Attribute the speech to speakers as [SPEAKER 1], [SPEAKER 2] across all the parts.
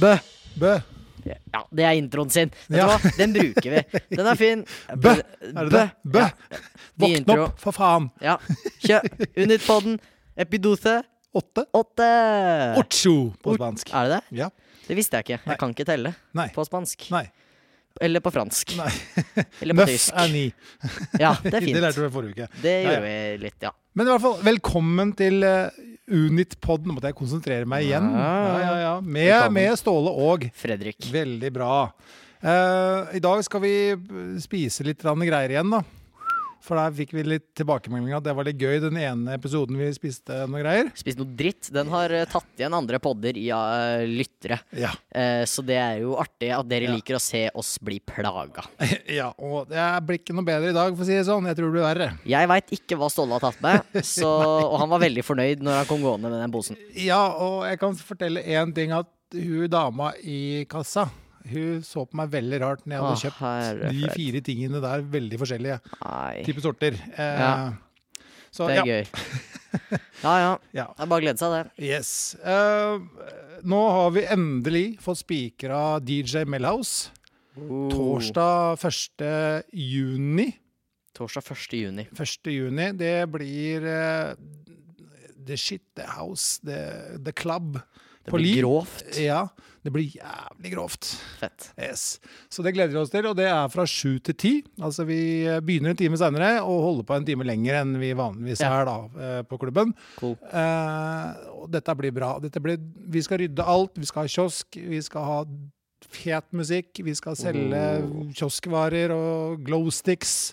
[SPEAKER 1] Bø.
[SPEAKER 2] Bø.
[SPEAKER 1] Ja, det er introen sin. Vet
[SPEAKER 2] Ja.
[SPEAKER 1] du hva? Den bruker vi. Den er fin.
[SPEAKER 2] Bø. Er det det? Bø.
[SPEAKER 1] Ny
[SPEAKER 2] Våkn
[SPEAKER 1] intro.
[SPEAKER 2] opp, for faen.
[SPEAKER 1] Ja. Kjø. Unitpodden. Epidose
[SPEAKER 2] Åtte.
[SPEAKER 1] 8. Eh.
[SPEAKER 2] Ocho på spansk.
[SPEAKER 1] Er det det?
[SPEAKER 2] Ja.
[SPEAKER 1] Det visste jeg ikke. Jeg
[SPEAKER 2] Nei.
[SPEAKER 1] kan ikke telle
[SPEAKER 2] Nei.
[SPEAKER 1] på spansk.
[SPEAKER 2] Nei.
[SPEAKER 1] Eller på fransk.
[SPEAKER 2] Nei.
[SPEAKER 1] Eller på
[SPEAKER 2] Nøff
[SPEAKER 1] tysk.
[SPEAKER 2] er ni.
[SPEAKER 1] Ja, det er
[SPEAKER 2] Det
[SPEAKER 1] fint.
[SPEAKER 2] lærte vi forrige uke.
[SPEAKER 1] Det
[SPEAKER 2] Ja, ja.
[SPEAKER 1] gjorde vi litt, ja.
[SPEAKER 2] Men i hvert fall, velkommen til eh, Unit-podden. Nå måtte jeg konsentrere meg igjen. Ja,
[SPEAKER 1] Ja.
[SPEAKER 2] ja, ja. Med,
[SPEAKER 1] Ah. Velkommen.
[SPEAKER 2] med Ståle og.
[SPEAKER 1] Fredrik.
[SPEAKER 2] Veldig bra. Eh, I dag skal vi spise litt grann greier igjen, da. For der fikk vi litt tilbakemeldinger at det var litt gøy, den ene episoden vi spiste noe greier.
[SPEAKER 1] Spist noe dritt. Den har eh, tatt igjen andre podder i eh, lyttere.
[SPEAKER 2] Ja.
[SPEAKER 1] Eh, så det er jo artig at dere
[SPEAKER 2] Ja.
[SPEAKER 1] liker å se oss bli plaga.
[SPEAKER 2] ja. Og det blir ikke noe bedre i dag, for å si det sånn. Jeg tror det blir verre.
[SPEAKER 1] Jeg veit ikke hva Ståle har tatt med, så, og han var veldig fornøyd når han kom gående med den posen.
[SPEAKER 2] Ja, og jeg kan fortelle én ting, at hun dama i kassa hun så på meg veldig rart når jeg hadde
[SPEAKER 1] Å,
[SPEAKER 2] kjøpt
[SPEAKER 1] herre
[SPEAKER 2] de
[SPEAKER 1] fred.
[SPEAKER 2] fire tingene der. Veldig forskjellige
[SPEAKER 1] Nei,
[SPEAKER 2] type sorter. Eh,
[SPEAKER 1] Ja.
[SPEAKER 2] Så
[SPEAKER 1] det
[SPEAKER 2] ja.
[SPEAKER 1] er gøy. Ja ja.
[SPEAKER 2] ja.
[SPEAKER 1] Det er bare å glede seg, det.
[SPEAKER 2] Yes. Eh, nå har vi endelig fått spikra DJ Melhouse.
[SPEAKER 1] Oh.
[SPEAKER 2] Torsdag 1. juni.
[SPEAKER 1] Torsdag 1. juni.
[SPEAKER 2] 1. juni, det blir eh, The Shit, The House, The, the Club.
[SPEAKER 1] Det
[SPEAKER 2] På
[SPEAKER 1] blir
[SPEAKER 2] Liv.
[SPEAKER 1] grovt.
[SPEAKER 2] Ja, det blir jævlig grovt.
[SPEAKER 1] Fett.
[SPEAKER 2] Yes. Så det gleder vi oss til, og det er fra sju til ti. Altså vi eh, begynner en time seinere og holder på en time lenger enn vi vanligvis
[SPEAKER 1] Ja.
[SPEAKER 2] er da eh, på klubben.
[SPEAKER 1] Cool.
[SPEAKER 2] Eh, og dette blir bra. Dette blir, vi skal rydde alt. Vi skal ha kiosk, vi skal ha fet musikk, vi skal selge
[SPEAKER 1] Oh.
[SPEAKER 2] kioskvarer og glowsticks.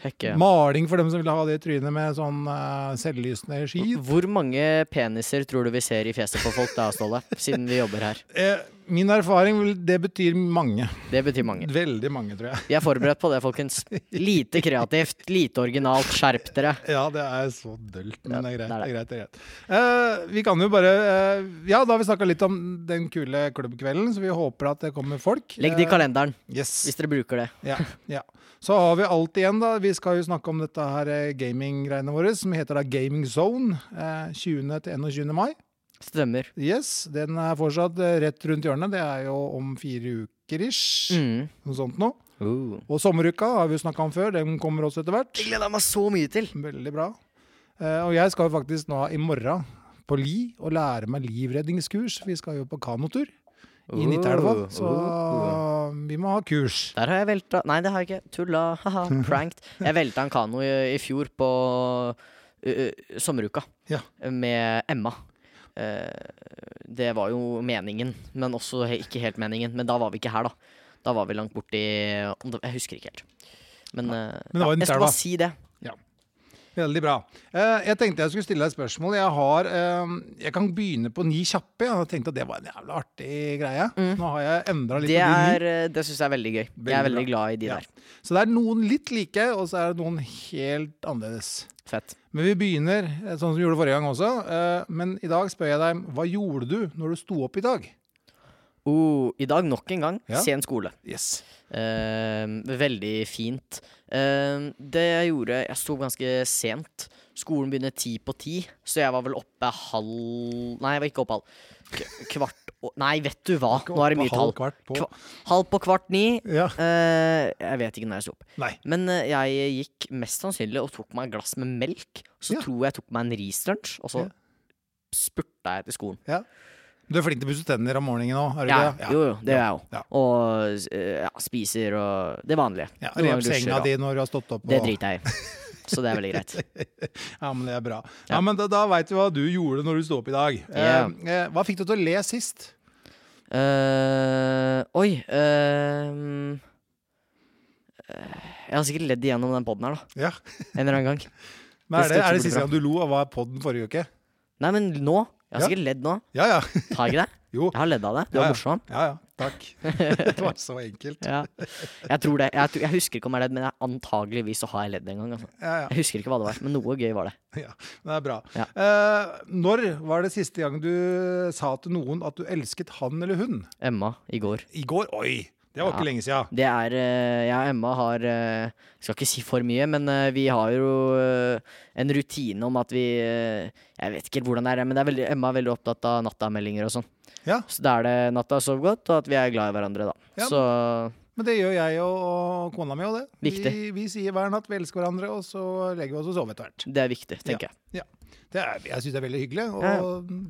[SPEAKER 1] Hekke.
[SPEAKER 2] Maling for dem som vil ha det i trynet med sånn eh, selvlysende skit.
[SPEAKER 1] Hvor mange peniser tror du vi ser i fjeset på folk da, Ståle? Siden vi jobber her.
[SPEAKER 2] Eh, min erfaring vil det betyr mange.
[SPEAKER 1] Det betyr mange.
[SPEAKER 2] Veldig mange, tror jeg.
[SPEAKER 1] Vi er forberedt på det, folkens. Lite kreativt, lite originalt. Skjerp dere.
[SPEAKER 2] Ja, det er så dølt, men det er greit.
[SPEAKER 1] Ja, det
[SPEAKER 2] Det
[SPEAKER 1] er
[SPEAKER 2] er greit, det er greit. Eh, vi kan jo bare eh, Ja, da har vi snakka litt om den kule klubbkvelden, så vi håper at det kommer folk.
[SPEAKER 1] Legg det i
[SPEAKER 2] Eh,
[SPEAKER 1] kalenderen
[SPEAKER 2] Yes.
[SPEAKER 1] hvis dere bruker det.
[SPEAKER 2] Ja, ja. Så har vi alt igjen, da. Vi skal jo snakke om dette her eh, gaming-greiene våre, som heter da Gaming Zone. eh, 20. til 21. mai.
[SPEAKER 1] Stemmer.
[SPEAKER 2] Yes, Den er fortsatt eh, rett rundt hjørnet. Det er jo om fire uker ish.
[SPEAKER 1] Mm.
[SPEAKER 2] Noe sånt nå.
[SPEAKER 1] Uh.
[SPEAKER 2] Og sommeruka har vi jo snakka om før. Den kommer også etter hvert.
[SPEAKER 1] Det gleder jeg meg så mye til.
[SPEAKER 2] Veldig bra. Eh, og jeg skal jo faktisk nå i morgen på Li og lære meg livredningskurs. Vi skal jo på kanotur i Nittelva, så vi må ha kurs.
[SPEAKER 1] Der har jeg velta Nei, det har jeg ikke. Tulla. Haha. Pranked. Jeg velta en kano i, i fjor på ø, ø, sommeruka
[SPEAKER 2] Ja.
[SPEAKER 1] med Emma. Eh, det var jo meningen, men også he ikke helt meningen. Men da var vi ikke her, da. Da var vi langt borti om det- Jeg husker ikke helt. Men, eh,
[SPEAKER 2] Men det var i
[SPEAKER 1] ja, jeg skal
[SPEAKER 2] Nittelva.
[SPEAKER 1] bare si det.
[SPEAKER 2] Veldig bra. Eh, jeg tenkte jeg skulle stille deg et spørsmål. Jeg, har, eh, jeg kan begynne på ni kjappe. Jeg tenkte at det var en jævla artig greie. Nå har jeg endra litt
[SPEAKER 1] Det,
[SPEAKER 2] på de ni.
[SPEAKER 1] er, eh, det syns jeg er veldig gøy. jeg er
[SPEAKER 2] Veldig
[SPEAKER 1] veldig glad i de
[SPEAKER 2] Ja.
[SPEAKER 1] der.
[SPEAKER 2] Så det er noen litt like, og så er det noen helt annerledes.
[SPEAKER 1] Fett.
[SPEAKER 2] Men vi begynner eh, sånn som vi gjorde forrige gang også. Eh, men i dag spør jeg deg, hva gjorde du når du sto opp i dag?
[SPEAKER 1] Oh, I dag nok en gang
[SPEAKER 2] Ja.
[SPEAKER 1] sen skole.
[SPEAKER 2] Yes.
[SPEAKER 1] Eh, veldig fint. Eh, det jeg gjorde Jeg sto opp ganske sent. Skolen begynner ti på ti, så jeg var vel oppe halv Nei, jeg var ikke oppe halv. K kvart å- Nei, vet du hva. Nå er det mye tall.
[SPEAKER 2] Halv kvart på.
[SPEAKER 1] Kva- Halv på kvart ni.
[SPEAKER 2] Ja.
[SPEAKER 1] Eh, jeg vet ikke når jeg sto opp.
[SPEAKER 2] Nei.
[SPEAKER 1] Men eh, jeg gikk mest sannsynlig og tok meg et glass med melk. Så
[SPEAKER 2] Ja.
[SPEAKER 1] tror jeg jeg tok meg en rislunsj, og så
[SPEAKER 2] Ja.
[SPEAKER 1] spurta jeg til skolen.
[SPEAKER 2] Du er flink til å pusse tenner om morgenen nå, er du
[SPEAKER 1] Ja,
[SPEAKER 2] ikke det?
[SPEAKER 1] jo, jo, det gjør jeg jo.
[SPEAKER 2] Ja.
[SPEAKER 1] Og eh, ja, spiser og det vanlige.
[SPEAKER 2] Ja,
[SPEAKER 1] Noen
[SPEAKER 2] Rev
[SPEAKER 1] ganger dusjer,
[SPEAKER 2] senga
[SPEAKER 1] og-
[SPEAKER 2] di når du har stått opp.
[SPEAKER 1] Det
[SPEAKER 2] og-
[SPEAKER 1] driter jeg i. Så det er veldig greit.
[SPEAKER 2] Ja, men det er bra. Ja,
[SPEAKER 1] Ja.
[SPEAKER 2] men Da, da veit vi hva du gjorde når du sto opp i dag.
[SPEAKER 1] Ja.
[SPEAKER 2] Eh, eh, hva fikk du til å le sist?
[SPEAKER 1] Eh, oi ehm, eh, Jeg har sikkert ledd igjennom den poden her, da.
[SPEAKER 2] Ja.
[SPEAKER 1] En eller annen gang.
[SPEAKER 2] Men er
[SPEAKER 1] Det
[SPEAKER 2] det,
[SPEAKER 1] skal
[SPEAKER 2] er det
[SPEAKER 1] ikke bli
[SPEAKER 2] siste gang du lo, og hva er podden forrige uke?
[SPEAKER 1] Nei, men nå. Jeg har
[SPEAKER 2] Ja.
[SPEAKER 1] sikkert ledd nå.
[SPEAKER 2] Ja ja.
[SPEAKER 1] Har jeg ikke det?
[SPEAKER 2] Jo.
[SPEAKER 1] Jeg har ledd av det. Du
[SPEAKER 2] Ja,
[SPEAKER 1] er
[SPEAKER 2] ja.
[SPEAKER 1] morsom.
[SPEAKER 2] Ja ja. Takk. det var så enkelt.
[SPEAKER 1] Ja. Jeg tror det. Jeg, tror- jeg husker ikke om jeg har ledd, men jeg, antageligvis så har jeg ledd en gang. Altså.
[SPEAKER 2] Ja, ja.
[SPEAKER 1] Jeg husker ikke hva det var, men noe gøy var det.
[SPEAKER 2] ja. Det er bra.
[SPEAKER 1] Ja.
[SPEAKER 2] Eh, når var det siste gang du sa til noen at du elsket han eller hun?
[SPEAKER 1] Emma i går.
[SPEAKER 2] I går? Oi! Det var
[SPEAKER 1] Ja.
[SPEAKER 2] ikke lenge sia.
[SPEAKER 1] Det er eh, Jeg og Emma har eh, Skal ikke si for mye, men eh, vi har jo eh, en rutine om at vi eh, Jeg vet ikke helt hvordan det er, men det er veldig, Emma er veldig opptatt av nattameldinger og sånn.
[SPEAKER 2] Ja.
[SPEAKER 1] Så da er det natta sov godt, og at vi er glad i hverandre, da.
[SPEAKER 2] Ja.
[SPEAKER 1] Så
[SPEAKER 2] Men det gjør jeg og, og kona mi òg, det. Vi,
[SPEAKER 1] Viktig.
[SPEAKER 2] vi sier hver natt vi elsker hverandre, og så legger vi oss og sover etter hvert.
[SPEAKER 1] det er viktig, tenker jeg.
[SPEAKER 2] Det er, jeg syns det er veldig hyggelig. Og
[SPEAKER 1] Ja,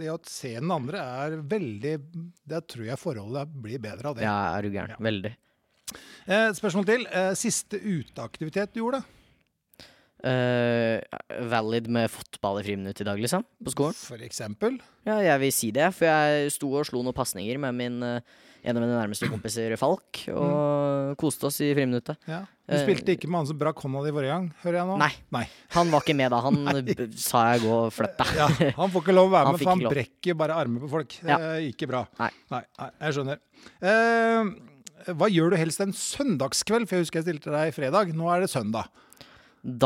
[SPEAKER 2] det å se den andre er veldig Da tror jeg forholdet blir bedre av det.
[SPEAKER 1] Ja, er du gæren.
[SPEAKER 2] Ja.
[SPEAKER 1] Veldig.
[SPEAKER 2] Eh, et spørsmål til. Eh, siste uteaktivitet du gjorde?
[SPEAKER 1] Eh, valid med fotball i friminutt i dag, liksom? På skolen?
[SPEAKER 2] For eksempel?
[SPEAKER 1] Ja, jeg vil si det, for jeg sto og slo noen pasninger med min, eh, en av mine nærmeste kompiser, Falk, og koste oss i friminuttet.
[SPEAKER 2] Ja. Du
[SPEAKER 1] Eh,
[SPEAKER 2] spilte ikke med han som brakk hånda di forrige gang, hører jeg nå?
[SPEAKER 1] Nei.
[SPEAKER 2] Nei.
[SPEAKER 1] Han var ikke med da. Han b- sa jeg gå og flytt deg.
[SPEAKER 2] Ja, han får ikke lov å være
[SPEAKER 1] Han
[SPEAKER 2] med,
[SPEAKER 1] fikk
[SPEAKER 2] for han
[SPEAKER 1] ikke lov.
[SPEAKER 2] brekker bare armer på folk.
[SPEAKER 1] Ja.
[SPEAKER 2] Eh, ikke bra.
[SPEAKER 1] Nei.
[SPEAKER 2] Nei, nei, jeg skjønner. Eh, hva gjør du helst en søndagskveld? For jeg husker jeg stilte deg fredag. Nå er det søndag.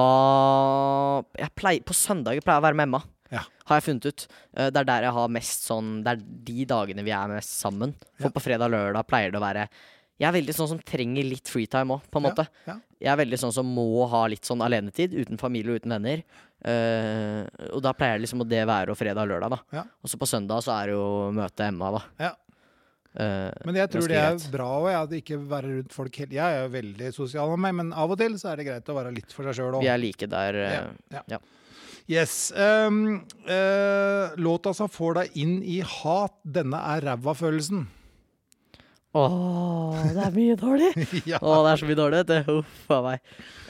[SPEAKER 1] Da jeg pleier, På søndager pleier jeg å være med Emma,
[SPEAKER 2] Ja.
[SPEAKER 1] har jeg funnet ut. Eh, Det er der jeg har mest sånn Det er de dagene vi er mest sammen.
[SPEAKER 2] Ja.
[SPEAKER 1] For på fredag og lørdag pleier det å være Jeg er veldig sånn som trenger litt freetime òg, på en
[SPEAKER 2] Ja,
[SPEAKER 1] måte.
[SPEAKER 2] ja.
[SPEAKER 1] Jeg er veldig sånn som må ha litt sånn alenetid, uten familie og uten venner. Eh, og da pleier liksom å det være og fredag og lørdag, da.
[SPEAKER 2] Ja.
[SPEAKER 1] Og så på søndag så er det jo møte Emma, da.
[SPEAKER 2] Ja.
[SPEAKER 1] Eh,
[SPEAKER 2] Men jeg tror
[SPEAKER 1] Ganske
[SPEAKER 2] det er
[SPEAKER 1] greit.
[SPEAKER 2] bra òg, at ikke være rundt folk hele Jeg er jo veldig sosial med meg, men av og til så er det greit å være litt for seg sjøl
[SPEAKER 1] vi
[SPEAKER 2] òg.
[SPEAKER 1] er like der. eh,
[SPEAKER 2] Ja,
[SPEAKER 1] ja.
[SPEAKER 2] Yes. ehm, eh, låta som får deg inn i hat, denne er ræva-følelsen.
[SPEAKER 1] Åh, det er mye dårlig!
[SPEAKER 2] ja.
[SPEAKER 1] Å, det er så mye dårlig, vet du. Huff a meg.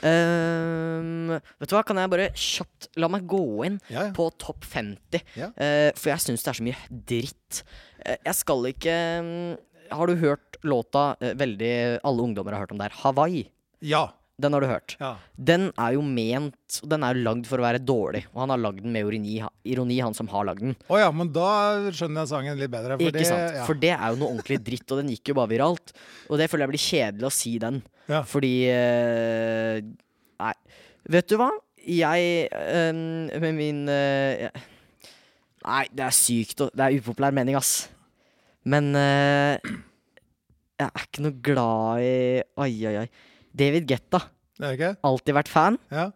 [SPEAKER 1] Ehm, vet du hva, kan jeg bare kjapt la meg gå inn
[SPEAKER 2] Ja, ja.
[SPEAKER 1] på topp 50?
[SPEAKER 2] Ja.
[SPEAKER 1] Eh, for jeg syns det er så mye dritt. Eh, jeg skal ikke mm, Har du hørt låta eh, veldig Alle ungdommer har hørt om der, Hawaii?
[SPEAKER 2] ja.
[SPEAKER 1] Den har du hørt.
[SPEAKER 2] ja.
[SPEAKER 1] Den er jo ment og Den er jo lagd for å være dårlig, og han har lagd den med ironi, ironi han som har lagd den.
[SPEAKER 2] Å ja, men da skjønner jeg sangen litt bedre. For
[SPEAKER 1] Ikke
[SPEAKER 2] det,
[SPEAKER 1] sant?
[SPEAKER 2] Ja.
[SPEAKER 1] For det er jo noe ordentlig dritt, og den gikk jo bare viralt. Og det føler jeg blir kjedelig å si den.
[SPEAKER 2] Ja.
[SPEAKER 1] Fordi eh, Nei. Vet du hva? Jeg eh, med min eh, Nei, det er sykt og Det er upopulær mening, ass. Men eh, jeg er ikke noe glad i Oi, oi, oi. David Getta.
[SPEAKER 2] Er det ikke?
[SPEAKER 1] Alltid vært fan.
[SPEAKER 2] Ja.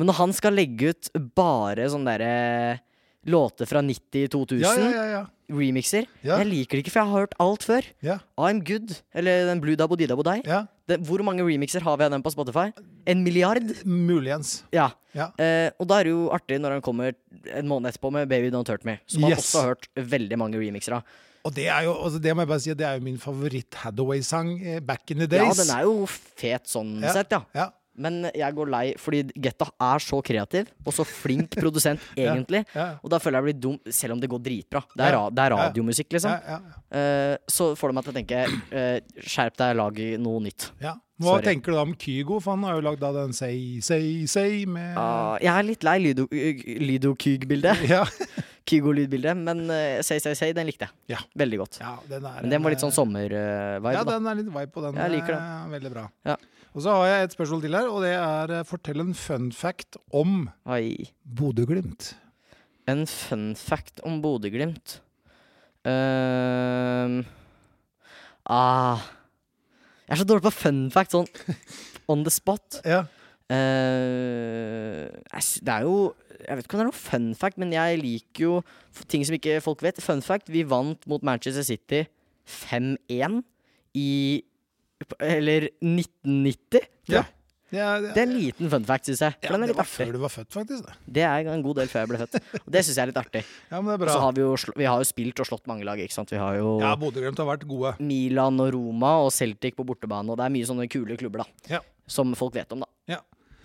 [SPEAKER 1] Men når han skal legge ut bare sånne derre låter fra 90 2000,
[SPEAKER 2] Ja, ja, ja, ja.
[SPEAKER 1] remixer
[SPEAKER 2] Ja.
[SPEAKER 1] Jeg liker det ikke, for jeg har hørt alt før.
[SPEAKER 2] Ja,
[SPEAKER 1] I'm Good, eller den Blue Dabo Didabo Dei.
[SPEAKER 2] ja.
[SPEAKER 1] Det- Hvor mange remixer har vi av den på Spotify? En milliard?
[SPEAKER 2] Muligens.
[SPEAKER 1] Ja.
[SPEAKER 2] Ja.
[SPEAKER 1] Eh, og da er det jo artig når han kommer en måned etterpå med Baby Don't Hurt Me, som han
[SPEAKER 2] Yes.
[SPEAKER 1] også har hørt veldig mange remixer av.
[SPEAKER 2] Og det er jo altså det må jeg bare si, det er jo min favoritt-Hadaway-sang eh, back in the
[SPEAKER 1] Ja,
[SPEAKER 2] days.
[SPEAKER 1] den er jo fet sånn
[SPEAKER 2] Ja.
[SPEAKER 1] sett, ja.
[SPEAKER 2] Ja.
[SPEAKER 1] Men jeg går lei, fordi Getta er så kreativ, og så flink produsent, egentlig.
[SPEAKER 2] ja.
[SPEAKER 1] Og da føler jeg blir dum, selv om det går dritbra. Det er,
[SPEAKER 2] Ja.
[SPEAKER 1] ra det er
[SPEAKER 2] Ja.
[SPEAKER 1] radiomusikk, liksom.
[SPEAKER 2] Ja, ja,
[SPEAKER 1] Eh, så får det meg til å tenke eh, Skjerp deg, lag noe nytt.
[SPEAKER 2] ja. Hva
[SPEAKER 1] Sorry.
[SPEAKER 2] tenker du da om Kygo? For han har jo lagd da den Say, Say, Say med
[SPEAKER 1] Ah, jeg er litt lei Lydo- Lydo Kyg-bildet.
[SPEAKER 2] ja.
[SPEAKER 1] Kygo-lydbildet. Men eh, Say Say Say, den likte jeg.
[SPEAKER 2] Ja.
[SPEAKER 1] Veldig godt.
[SPEAKER 2] ja, den er
[SPEAKER 1] Men den var
[SPEAKER 2] en,
[SPEAKER 1] litt sånn
[SPEAKER 2] eh,
[SPEAKER 1] sommer-vibe.
[SPEAKER 2] Ja,
[SPEAKER 1] da.
[SPEAKER 2] den er litt vibe på den.
[SPEAKER 1] Jeg liker den.
[SPEAKER 2] eh, Veldig bra.
[SPEAKER 1] Ja.
[SPEAKER 2] Og så har jeg et spørsmål til her, og det er eh, fortell en fun fact om
[SPEAKER 1] Oi.
[SPEAKER 2] Bodø-Glimt.
[SPEAKER 1] En fun fact om Bodø-Glimt. Ehm, ah. Jeg er så dårlig på fun fact sånn on the spot.
[SPEAKER 2] Ja.
[SPEAKER 1] Eh, jeg sy- det er jo Jeg vet ikke om det er noe fun fact, men jeg liker jo f- ting som ikke folk vet. Fun fact, vi vant mot Manchester City 5-1 i p- Eller 1990.
[SPEAKER 2] Ja.
[SPEAKER 1] Ja.
[SPEAKER 2] Det er, det
[SPEAKER 1] Det er en liten fun fact, syns jeg. For
[SPEAKER 2] ja,
[SPEAKER 1] den er
[SPEAKER 2] det
[SPEAKER 1] litt
[SPEAKER 2] var
[SPEAKER 1] artig.
[SPEAKER 2] før du var født, faktisk. Det.
[SPEAKER 1] Det er en god del før jeg ble født. Og det syns jeg er litt artig.
[SPEAKER 2] Ja, men det er
[SPEAKER 1] Og
[SPEAKER 2] bra.
[SPEAKER 1] så har vi jo, sl- vi har jo spilt og slått mange lag, ikke sant. Vi har jo
[SPEAKER 2] Ja, Bodø-Glimt har vært gode.
[SPEAKER 1] Milan og Roma og Celtic på bortebane, og det er mye sånne kule klubber, da.
[SPEAKER 2] Ja.
[SPEAKER 1] Som folk vet om, da.
[SPEAKER 2] Ja.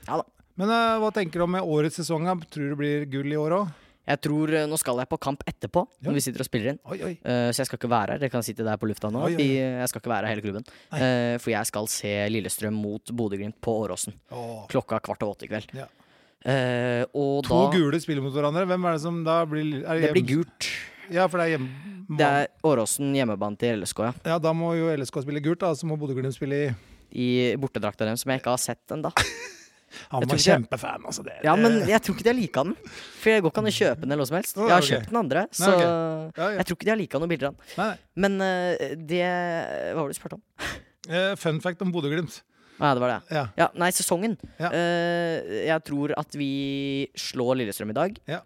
[SPEAKER 1] Ja da.
[SPEAKER 2] Men eh, hva tenker du om med årets sesong? da? Tror du det blir gull i år òg?
[SPEAKER 1] Jeg tror eh, Nå skal jeg på kamp etterpå,
[SPEAKER 2] Ja.
[SPEAKER 1] når vi sitter og spiller inn.
[SPEAKER 2] Oi, oi.
[SPEAKER 1] Eh, så jeg skal ikke være her. Dere kan sitte der på lufta nå.
[SPEAKER 2] Oi, oi, oi.
[SPEAKER 1] fordi Jeg skal ikke være her hele klubben. Eh, for jeg skal se Lillestrøm mot Bodø-Glimt på Åråsen.
[SPEAKER 2] Åh.
[SPEAKER 1] Klokka kvart over åtte i kveld.
[SPEAKER 2] Ja.
[SPEAKER 1] Eh, og
[SPEAKER 2] To
[SPEAKER 1] da
[SPEAKER 2] gule spiller mot hverandre. Hvem er det som da blir er
[SPEAKER 1] Det blir
[SPEAKER 2] hjem-
[SPEAKER 1] gult.
[SPEAKER 2] Ja, for det er hjem...
[SPEAKER 1] Det er Åråsen hjemmebane til LSK, ja.
[SPEAKER 2] Ja, da må jo LSK spille gult, da. Så må Bodø-Glimt spille i
[SPEAKER 1] I bortedrakta deres, som jeg ikke har sett ennå.
[SPEAKER 2] Han
[SPEAKER 1] Jeg
[SPEAKER 2] var
[SPEAKER 1] tror
[SPEAKER 2] kjempefan, altså. Det.
[SPEAKER 1] Ja, men jeg tror ikke de har lika den. For jeg går ikke an å kjøpe den eller noe som helst.
[SPEAKER 2] Å,
[SPEAKER 1] Jeg har
[SPEAKER 2] ok.
[SPEAKER 1] kjøpt den andre,
[SPEAKER 2] Nei,
[SPEAKER 1] så
[SPEAKER 2] ok. Ja, ja.
[SPEAKER 1] jeg tror ikke de har lika noen bilder av den.
[SPEAKER 2] Nei, nei.
[SPEAKER 1] Men eh, det Hva var det du spurte om?
[SPEAKER 2] Eh, fun fact om Bodø-Glimt.
[SPEAKER 1] Ja, det var det.
[SPEAKER 2] Ja.
[SPEAKER 1] Ja, nei, sesongen.
[SPEAKER 2] Ja.
[SPEAKER 1] Eh, jeg tror at vi slår Lillestrøm i dag.
[SPEAKER 2] Ja.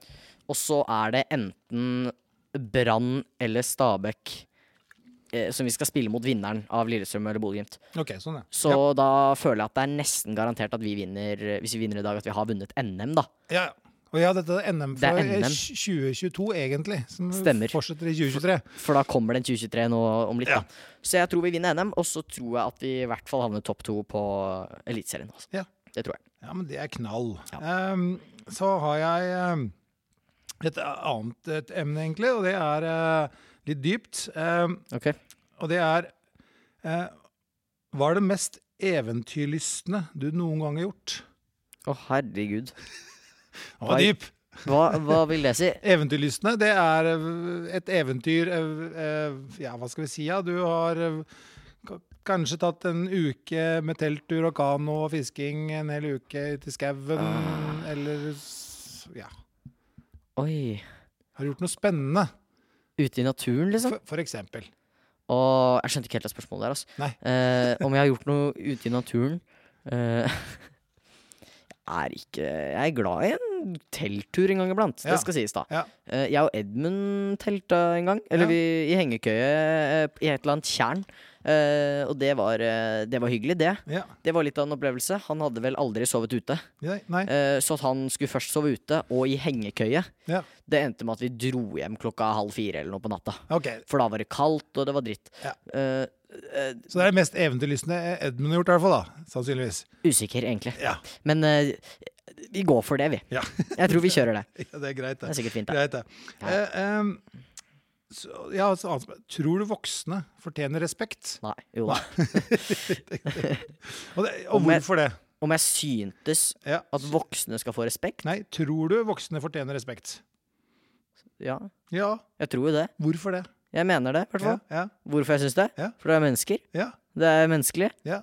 [SPEAKER 1] Og så er det enten Brann eller Stabæk eh, som vi skal spille mot vinneren av Lillestrøm eller Bodø-Glimt.
[SPEAKER 2] Ok, sånn, ja.
[SPEAKER 1] Så
[SPEAKER 2] ja.
[SPEAKER 1] da føler jeg at det er nesten garantert at vi vinner, eh, hvis vi vinner i dag, at vi har vunnet NM, da.
[SPEAKER 2] ja. ja. Og ja, dette er NM
[SPEAKER 1] Det
[SPEAKER 2] for
[SPEAKER 1] er
[SPEAKER 2] eh,
[SPEAKER 1] NM.
[SPEAKER 2] 2022, egentlig. Som
[SPEAKER 1] Stemmer.
[SPEAKER 2] fortsetter i 2023.
[SPEAKER 1] For da kommer den 2023 nå om litt,
[SPEAKER 2] Ja.
[SPEAKER 1] da. Så jeg tror vi vinner NM, og så tror jeg at vi i hvert fall havner topp to på Eliteserien. Altså.
[SPEAKER 2] Ja.
[SPEAKER 1] Det tror jeg.
[SPEAKER 2] Ja, men det er knall. Ehm, så har jeg ehm, et annet et emne, egentlig, og det er eh, litt dypt. Ehm,
[SPEAKER 1] Ok.
[SPEAKER 2] og det er eh, Hva er det mest eventyrlystne du noen gang har gjort?
[SPEAKER 1] Å, herregud.
[SPEAKER 2] Den var
[SPEAKER 1] Oi.
[SPEAKER 2] dyp!
[SPEAKER 1] Hva, hva vil det si?
[SPEAKER 2] Eventyrlystne, det er eh, et eventyr eh, eh, Ja, hva skal vi si? Ja? Du har eh, k- kanskje tatt en uke med telttur og kano og fisking, en hel uke ute i skauen, eller s- Ja.
[SPEAKER 1] Oi.
[SPEAKER 2] Har du gjort noe spennende?
[SPEAKER 1] Ute i naturen, liksom?
[SPEAKER 2] For, for eksempel.
[SPEAKER 1] Og jeg skjønte ikke helt det spørsmålet der. Altså.
[SPEAKER 2] Nei.
[SPEAKER 1] Eh, om jeg har gjort noe ute i naturen eh, Jeg er ikke Jeg er glad i en telttur en gang iblant.
[SPEAKER 2] Ja.
[SPEAKER 1] Det skal sies, da.
[SPEAKER 2] Ja.
[SPEAKER 1] Eh, jeg og Edmund telta en gang. Eller
[SPEAKER 2] Ja.
[SPEAKER 1] vi i hengekøye eh, i et eller annet tjern. Eh, og det var, eh, det var hyggelig, det.
[SPEAKER 2] Ja.
[SPEAKER 1] Det var litt av en opplevelse. Han hadde vel aldri sovet ute.
[SPEAKER 2] Nei. nei.
[SPEAKER 1] Eh, så at han skulle først sove ute, og i hengekøye.
[SPEAKER 2] Ja.
[SPEAKER 1] Det endte med at vi dro hjem klokka halv fire eller noe på natta.
[SPEAKER 2] Ok,
[SPEAKER 1] For da var det kaldt, og det var dritt.
[SPEAKER 2] Ja.
[SPEAKER 1] Eh,
[SPEAKER 2] Så det er det mest eventyrlystne Edmund har gjort, i hvert fall. da, Sannsynligvis.
[SPEAKER 1] usikker, egentlig.
[SPEAKER 2] Ja,
[SPEAKER 1] Men eh, vi går for det, vi.
[SPEAKER 2] Ja.
[SPEAKER 1] jeg tror vi kjører det.
[SPEAKER 2] ja det er greit,
[SPEAKER 1] Det
[SPEAKER 2] det.
[SPEAKER 1] er sikkert fint, det.
[SPEAKER 2] Greit, det.
[SPEAKER 1] Ja.
[SPEAKER 2] Eh, em, så, ja, altså, annet spørsmål. tror du voksne fortjener respekt?
[SPEAKER 1] Nei, jo da.
[SPEAKER 2] Og, det, og
[SPEAKER 1] Om jeg-
[SPEAKER 2] hvorfor det?
[SPEAKER 1] Om jeg syntes
[SPEAKER 2] Ja.
[SPEAKER 1] at voksne skal få respekt?
[SPEAKER 2] Nei, tror du voksne fortjener respekt?
[SPEAKER 1] Ja,
[SPEAKER 2] Ja,
[SPEAKER 1] jeg tror jo det.
[SPEAKER 2] hvorfor det?
[SPEAKER 1] Jeg mener det, i hvert
[SPEAKER 2] Ja,
[SPEAKER 1] fall.
[SPEAKER 2] ja,
[SPEAKER 1] Hvorfor jeg syns det?
[SPEAKER 2] Ja.
[SPEAKER 1] For det er mennesker.
[SPEAKER 2] ja,
[SPEAKER 1] Det er menneskelig.
[SPEAKER 2] ja,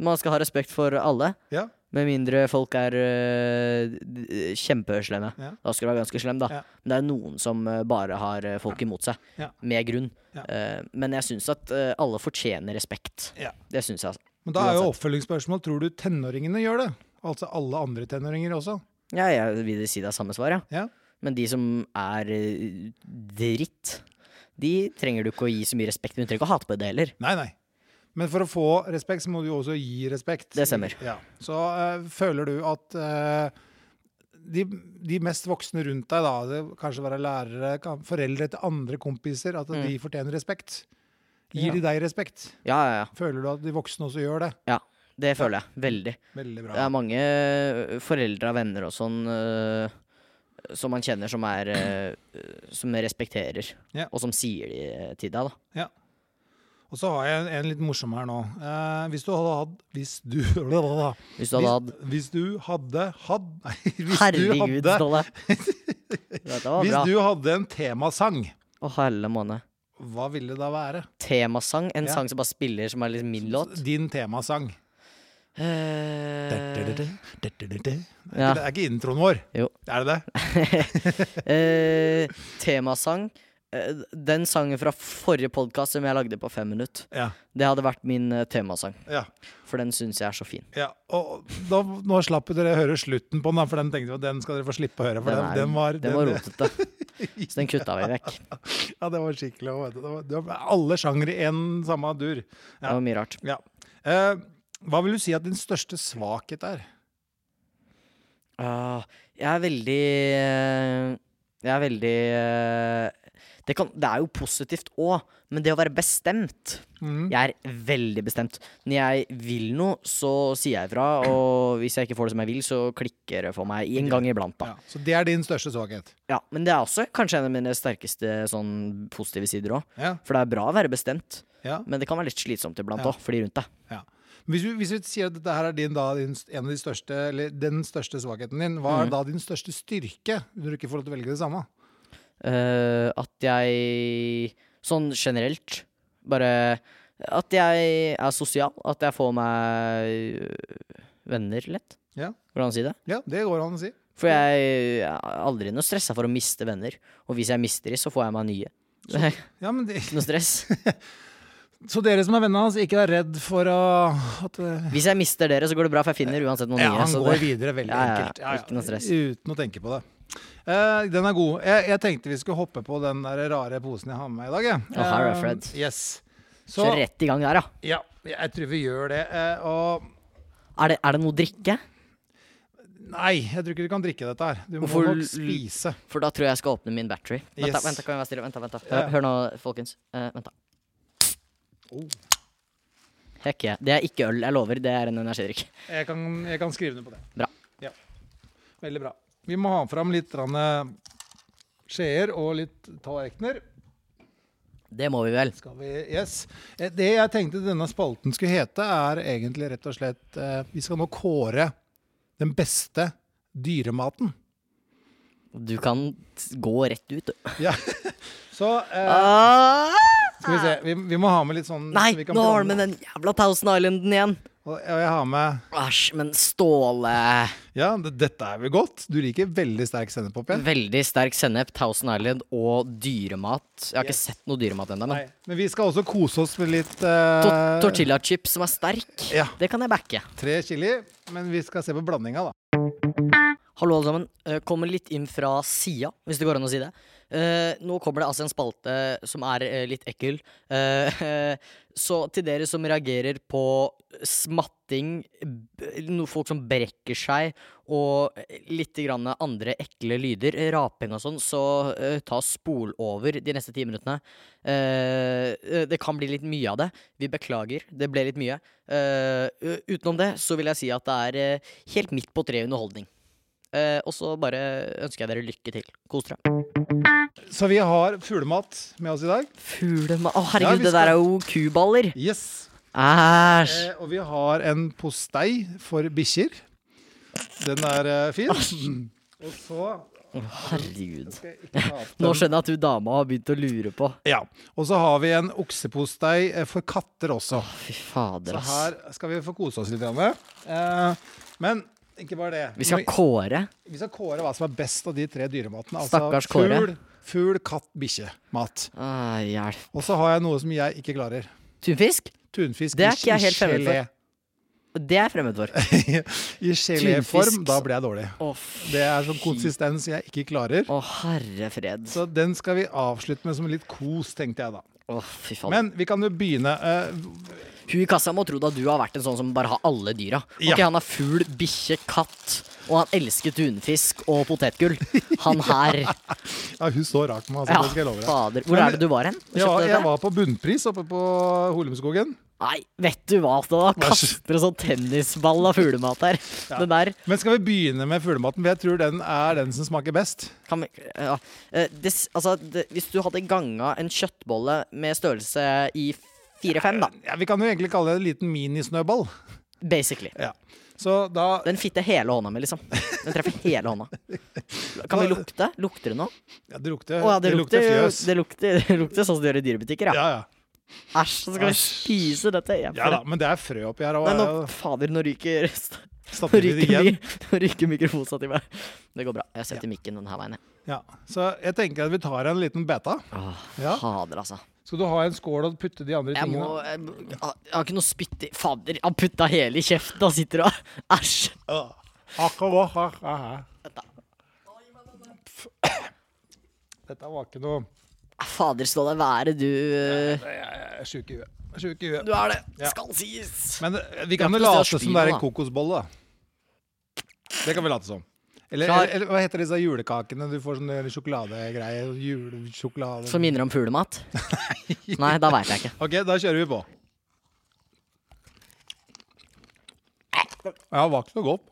[SPEAKER 1] Man skal ha respekt for alle.
[SPEAKER 2] ja.
[SPEAKER 1] Med mindre folk er øh, d- kjempeslemme.
[SPEAKER 2] Ja.
[SPEAKER 1] Da skal du være ganske slem, da.
[SPEAKER 2] Ja.
[SPEAKER 1] Men det er noen som øh, bare har øh, folk imot seg.
[SPEAKER 2] Ja.
[SPEAKER 1] Med grunn.
[SPEAKER 2] Ja.
[SPEAKER 1] Eh, men jeg syns at øh, alle fortjener respekt.
[SPEAKER 2] Ja.
[SPEAKER 1] Det syns jeg, altså.
[SPEAKER 2] Men da er jo oppfølgingsspørsmål tror du tenåringene gjør det? Altså alle andre tenåringer også?
[SPEAKER 1] Ja, jeg vil si det er samme svar, ja.
[SPEAKER 2] Ja.
[SPEAKER 1] Men de som er øh, dritt, de trenger du ikke å gi så mye respekt. Men du trenger ikke å hate på det heller.
[SPEAKER 2] Nei, nei. Men for å få respekt, så må du jo også gi respekt.
[SPEAKER 1] Det stemmer.
[SPEAKER 2] Ja. Så eh, føler du at eh, de, de mest voksne rundt deg, da, det, kanskje være lærere, kan, foreldre til andre kompiser, at de fortjener respekt? Gir
[SPEAKER 1] Mm. Ja.
[SPEAKER 2] de deg respekt?
[SPEAKER 1] Ja, ja, ja.
[SPEAKER 2] Føler du at de voksne også gjør det?
[SPEAKER 1] Det føler jeg. Veldig.
[SPEAKER 2] Veldig
[SPEAKER 1] Det
[SPEAKER 2] bra.
[SPEAKER 1] er mange øh, foreldre og venner og sånn øh, som man kjenner som er øh, øh, Som respekterer,
[SPEAKER 2] Ja.
[SPEAKER 1] og som sier de øh, til deg, da.
[SPEAKER 2] Og så har jeg en, en litt morsom her nå. Eh, hvis du hadde hatt Hvis du Hvis,
[SPEAKER 1] Hvis du
[SPEAKER 2] hvis du hadde
[SPEAKER 1] hadde hatt
[SPEAKER 2] hatt Nei, hvis du
[SPEAKER 1] Herregud,
[SPEAKER 2] hadde,
[SPEAKER 1] Ståle! Dette var bra.
[SPEAKER 2] hvis du hadde en temasang,
[SPEAKER 1] Å, helle måne.
[SPEAKER 2] hva ville det da være?
[SPEAKER 1] Temasang. En
[SPEAKER 2] Ja.
[SPEAKER 1] sang som bare spiller, som er liksom min låt.
[SPEAKER 2] Din temasang.
[SPEAKER 1] Eh,
[SPEAKER 2] Det er ikke,
[SPEAKER 1] Ja.
[SPEAKER 2] det er ikke introen vår.
[SPEAKER 1] Jo.
[SPEAKER 2] Er det det?
[SPEAKER 1] eh, temasang. Eh, Den sangen fra forrige podkast som jeg lagde på fem minutt,
[SPEAKER 2] Ja.
[SPEAKER 1] det hadde vært min eh, temasang.
[SPEAKER 2] ja,
[SPEAKER 1] For den syns jeg er så fin.
[SPEAKER 2] ja. Og da, nå slapp dere å høre slutten på den, da, for den tenkte vi at den skal dere få slippe å høre. For
[SPEAKER 1] Den,
[SPEAKER 2] den,
[SPEAKER 1] er-
[SPEAKER 2] den, var,
[SPEAKER 1] den var rotete. Så den kutta vi vekk.
[SPEAKER 2] Ja, det var skikkelig å- vet du, det var, det var Alle sjangre i en samme dur.
[SPEAKER 1] Det var mye rart.
[SPEAKER 2] Ja. Eh, hva vil du si at din største svakhet er?
[SPEAKER 1] Ah, jeg er veldig eh, Jeg er veldig eh, det, kan, det er jo positivt òg, men det å være bestemt
[SPEAKER 2] Mhm.
[SPEAKER 1] Jeg er veldig bestemt. Når jeg vil noe, så sier jeg ifra. Og hvis jeg ikke får det som jeg vil, så klikker det for meg en gang iblant, da.
[SPEAKER 2] Ja, så det er din største svakhet.
[SPEAKER 1] Ja, men det er også kanskje en av mine sterkeste sånn positive sider òg.
[SPEAKER 2] Ja,
[SPEAKER 1] For det er bra å være bestemt,
[SPEAKER 2] ja.
[SPEAKER 1] men det kan være litt slitsomt iblant
[SPEAKER 2] Ja.
[SPEAKER 1] òg, for de rundt deg.
[SPEAKER 2] Ja. Hvis, vi, hvis vi sier at dette her er din, da, din, en av de største, eller den største svakheten din, hva
[SPEAKER 1] Mm.
[SPEAKER 2] er da din største styrke når du ikke får lov til å velge det samme?
[SPEAKER 1] Eh, at jeg Sånn generelt bare At jeg er sosial. At jeg får meg øh, venner lett.
[SPEAKER 2] Ja.
[SPEAKER 1] Hvordan si det?
[SPEAKER 2] Ja, det går an å si.
[SPEAKER 1] For jeg er aldri noe stressa for å miste venner. Og hvis jeg mister de, så får jeg meg nye.
[SPEAKER 2] Ja, men det,
[SPEAKER 1] Ikke noe stress.
[SPEAKER 2] Så dere som er vennene hans, ikke vær redd for å at eh,
[SPEAKER 1] Hvis jeg mister dere, så går det bra, for jeg finner uansett noen
[SPEAKER 2] ja,
[SPEAKER 1] nye.
[SPEAKER 2] Han
[SPEAKER 1] Så
[SPEAKER 2] går
[SPEAKER 1] altså, det,
[SPEAKER 2] videre veldig
[SPEAKER 1] Ja, ja, ja.
[SPEAKER 2] enkelt. Ja, ja.
[SPEAKER 1] Ikke noe stress.
[SPEAKER 2] Uten å tenke på det. Eh, den er god. Jeg, jeg tenkte vi skulle hoppe på den der rare posen jeg har med meg i dag. jeg.
[SPEAKER 1] Ja, her er
[SPEAKER 2] Eh,
[SPEAKER 1] Fred.
[SPEAKER 2] Yes. Så
[SPEAKER 1] så rett i gang der, ja.
[SPEAKER 2] ja, jeg tror vi gjør det. eh, og
[SPEAKER 1] Er det, er det noe drikke?
[SPEAKER 2] Nei, jeg tror ikke du kan drikke dette her. Du må
[SPEAKER 1] Hvorfor
[SPEAKER 2] nok
[SPEAKER 1] l-
[SPEAKER 2] spise.
[SPEAKER 1] For da tror jeg jeg skal åpne min battery. Vent, da,
[SPEAKER 2] Yes.
[SPEAKER 1] vent da, kan jeg være stille? Vent da, vent da.
[SPEAKER 2] Ja.
[SPEAKER 1] Hør, hør nå, folkens. Eh, vent da. Heck yeah. Det er ikke øl, jeg lover. Det er en energidrikk.
[SPEAKER 2] Jeg kan, jeg kan skrive ned på det.
[SPEAKER 1] Bra.
[SPEAKER 2] Ja. Veldig bra. Vi må ha fram litt grann, eh, skjeer og litt tallerkener.
[SPEAKER 1] Det må vi vel.
[SPEAKER 2] Skal vi, yes. Eh, Det jeg tenkte denne spalten skulle hete, er egentlig rett og slett eh, Vi skal nå kåre den beste dyrematen.
[SPEAKER 1] Du kan t- gå rett ut, du.
[SPEAKER 2] Ja. Så eh,
[SPEAKER 1] Ah!
[SPEAKER 2] skal vi se. Vi, vi må ha med litt sånn
[SPEAKER 1] Nei,
[SPEAKER 2] så vi kan
[SPEAKER 1] nå har du
[SPEAKER 2] blande.
[SPEAKER 1] med den jævla Thousand Islanden igjen.
[SPEAKER 2] Og og jeg har med
[SPEAKER 1] Æsj, men Ståle
[SPEAKER 2] Ja, d- dette er vel godt? Du liker veldig sterk sennepop? Ja.
[SPEAKER 1] Veldig sterk sennep, Thousand Island og dyremat. Jeg har ikke sett noe dyremat ennå, men
[SPEAKER 2] Nei, Men vi skal også kose oss med litt eh,
[SPEAKER 1] Tor- Tortilla-chips som er sterk,
[SPEAKER 2] Ja.
[SPEAKER 1] det kan jeg backe.
[SPEAKER 2] Tre chili. Men vi skal se på blandinga, da.
[SPEAKER 1] Hallo, alle sammen. Eh, Kommer litt inn fra sida, hvis det går an å si det. Eh, nå kommer det altså en spalte som er eh, litt ekkel. Eh, så til dere som reagerer på smatting, b- no, folk som brekker seg, og litt grann andre ekle lyder, raping og sånn, så eh, ta spol over de neste ti minuttene. Eh, eh, det kan bli litt mye av det. Vi beklager, det ble litt mye. Eh, u- utenom det så vil jeg si at det er eh, helt midt på treet underholdning. Eh, og så bare ønsker jeg dere lykke til. Kos dere.
[SPEAKER 2] Så vi har fuglemat med oss i dag.
[SPEAKER 1] Fuglema... Å,
[SPEAKER 2] Ja,
[SPEAKER 1] herregud,
[SPEAKER 2] vi
[SPEAKER 1] det der
[SPEAKER 2] skal-
[SPEAKER 1] er jo kuballer!
[SPEAKER 2] Yes.
[SPEAKER 1] Æsj!
[SPEAKER 2] Eh, og vi har en postei for bikkjer. Den er eh, fin. Og så
[SPEAKER 1] Å, herregud.
[SPEAKER 2] skal jeg ikke ta opp
[SPEAKER 1] Nå
[SPEAKER 2] den.
[SPEAKER 1] skjønner jeg at du dama har begynt å lure på.
[SPEAKER 2] Ja. Og så har vi en oksepostei eh, for katter også.
[SPEAKER 1] Fy
[SPEAKER 2] Så
[SPEAKER 1] fader, ass.
[SPEAKER 2] her skal vi få kose oss litt. grann. Eh, men ikke bare det.
[SPEAKER 1] Vi skal kåre.
[SPEAKER 2] vi skal kåre hva som er best av de tre dyrematene. Altså
[SPEAKER 1] Stakkars
[SPEAKER 2] fugl,
[SPEAKER 1] Kåre.
[SPEAKER 2] fugl, katt, bikkje-mat.
[SPEAKER 1] Ah, hjelp.
[SPEAKER 2] Og så har jeg noe som jeg ikke klarer.
[SPEAKER 1] Tunfisk?
[SPEAKER 2] Tunfisk
[SPEAKER 1] Det er
[SPEAKER 2] i-
[SPEAKER 1] ikke jeg
[SPEAKER 2] i
[SPEAKER 1] helt fremmed for.
[SPEAKER 2] gelé.
[SPEAKER 1] Det er jeg
[SPEAKER 2] Eh,
[SPEAKER 1] fremmed for. Å,
[SPEAKER 2] I geléform,
[SPEAKER 1] Tunfisk,
[SPEAKER 2] da blir jeg dårlig.
[SPEAKER 1] fy-
[SPEAKER 2] Det er sånn konsistens jeg ikke klarer.
[SPEAKER 1] Å, herre fred.
[SPEAKER 2] Så den skal vi avslutte med som litt kos, tenkte jeg da.
[SPEAKER 1] Å, fy faen.
[SPEAKER 2] Men vi kan jo begynne. eh,
[SPEAKER 1] Hun i kassa må tro at du har vært en sånn som bare har alle dyra. Ok,
[SPEAKER 2] Ja.
[SPEAKER 1] Han har fugl, bikkje, katt, og han elsker tunfisk og potetgull. Han her.
[SPEAKER 2] ja, hun så rart på meg, altså,
[SPEAKER 1] Ja,
[SPEAKER 2] det skal jeg love deg.
[SPEAKER 1] fader. Hvor
[SPEAKER 2] Men-
[SPEAKER 1] er det du var hen? og
[SPEAKER 2] Jeg var,
[SPEAKER 1] kjøpte
[SPEAKER 2] jeg
[SPEAKER 1] dette?
[SPEAKER 2] var på bunnpris oppe på Holumskogen.
[SPEAKER 1] Nei, vet du hva? Da kaster en sånn tennisball av fuglemat her. Den der
[SPEAKER 2] Men skal vi begynne med fuglematen? For jeg tror den er den som smaker best.
[SPEAKER 1] kan vi, ja. Eh, det, s- Altså, det, hvis du hadde ganga en kjøttbolle med størrelse i fire-fem, da,
[SPEAKER 2] Ja, vi kan jo egentlig kalle det en liten minisnøball.
[SPEAKER 1] basically.
[SPEAKER 2] Ja. Så da
[SPEAKER 1] Den fitter hele hånda mi, liksom. Den treffer hele hånda. Kan vi lukte? Lukter det noe?
[SPEAKER 2] ja, Det lukter,
[SPEAKER 1] Å ja, det, lukter,
[SPEAKER 2] fjøs.
[SPEAKER 1] Det lukter, det lukter sånn som det gjør i dyrebutikker, ja.
[SPEAKER 2] Ja, ja.
[SPEAKER 1] Æsj, så skal vi
[SPEAKER 2] Æsj.
[SPEAKER 1] spise dette. Jeg
[SPEAKER 2] ja da, men det er frø oppi her. Og,
[SPEAKER 1] Nei, nå,
[SPEAKER 2] jeg
[SPEAKER 1] fader, nå ryker Nå
[SPEAKER 2] stapper i det
[SPEAKER 1] ryker,
[SPEAKER 2] igjen.
[SPEAKER 1] mi- nå ryker mikrofonstativet. Det går bra. Jeg setter mikken denne veien, jeg.
[SPEAKER 2] Ja, så jeg tenker at vi tar en liten beta.
[SPEAKER 1] Åh,
[SPEAKER 2] Ja.
[SPEAKER 1] Fader, altså.
[SPEAKER 2] Skal du ha en skål og putte de andre
[SPEAKER 1] Jeg må
[SPEAKER 2] tingene?
[SPEAKER 1] jeg, må- jeg har ikke noe spytt i Fader, han putta hele i kjeften. Han sitter og Æsj.
[SPEAKER 2] Ah, akkurat, ah, ah, ah. Dette var ikke noe
[SPEAKER 1] Fader, stå deg være, du.
[SPEAKER 2] Jeg er eh, sjuk i huet. Jeg er Sjuk i huet.
[SPEAKER 1] Du er det.
[SPEAKER 2] Ja.
[SPEAKER 1] Skal sies.
[SPEAKER 2] Men eh, vi kan
[SPEAKER 1] Det
[SPEAKER 2] jo
[SPEAKER 1] er ikke noe
[SPEAKER 2] late
[SPEAKER 1] sted
[SPEAKER 2] som
[SPEAKER 1] å
[SPEAKER 2] det er
[SPEAKER 1] spy nå,
[SPEAKER 2] en kokosbolle, da. Det kan vi late som. Eller,
[SPEAKER 1] Klar.
[SPEAKER 2] eller, eller hva heter disse julekakene? Du får sånne sjokoladegreier. Julesjokolade
[SPEAKER 1] Som minner om fuglemat? Nei, da veit jeg ikke.
[SPEAKER 2] OK, da kjører vi på. Ja, det var ikke noe godt.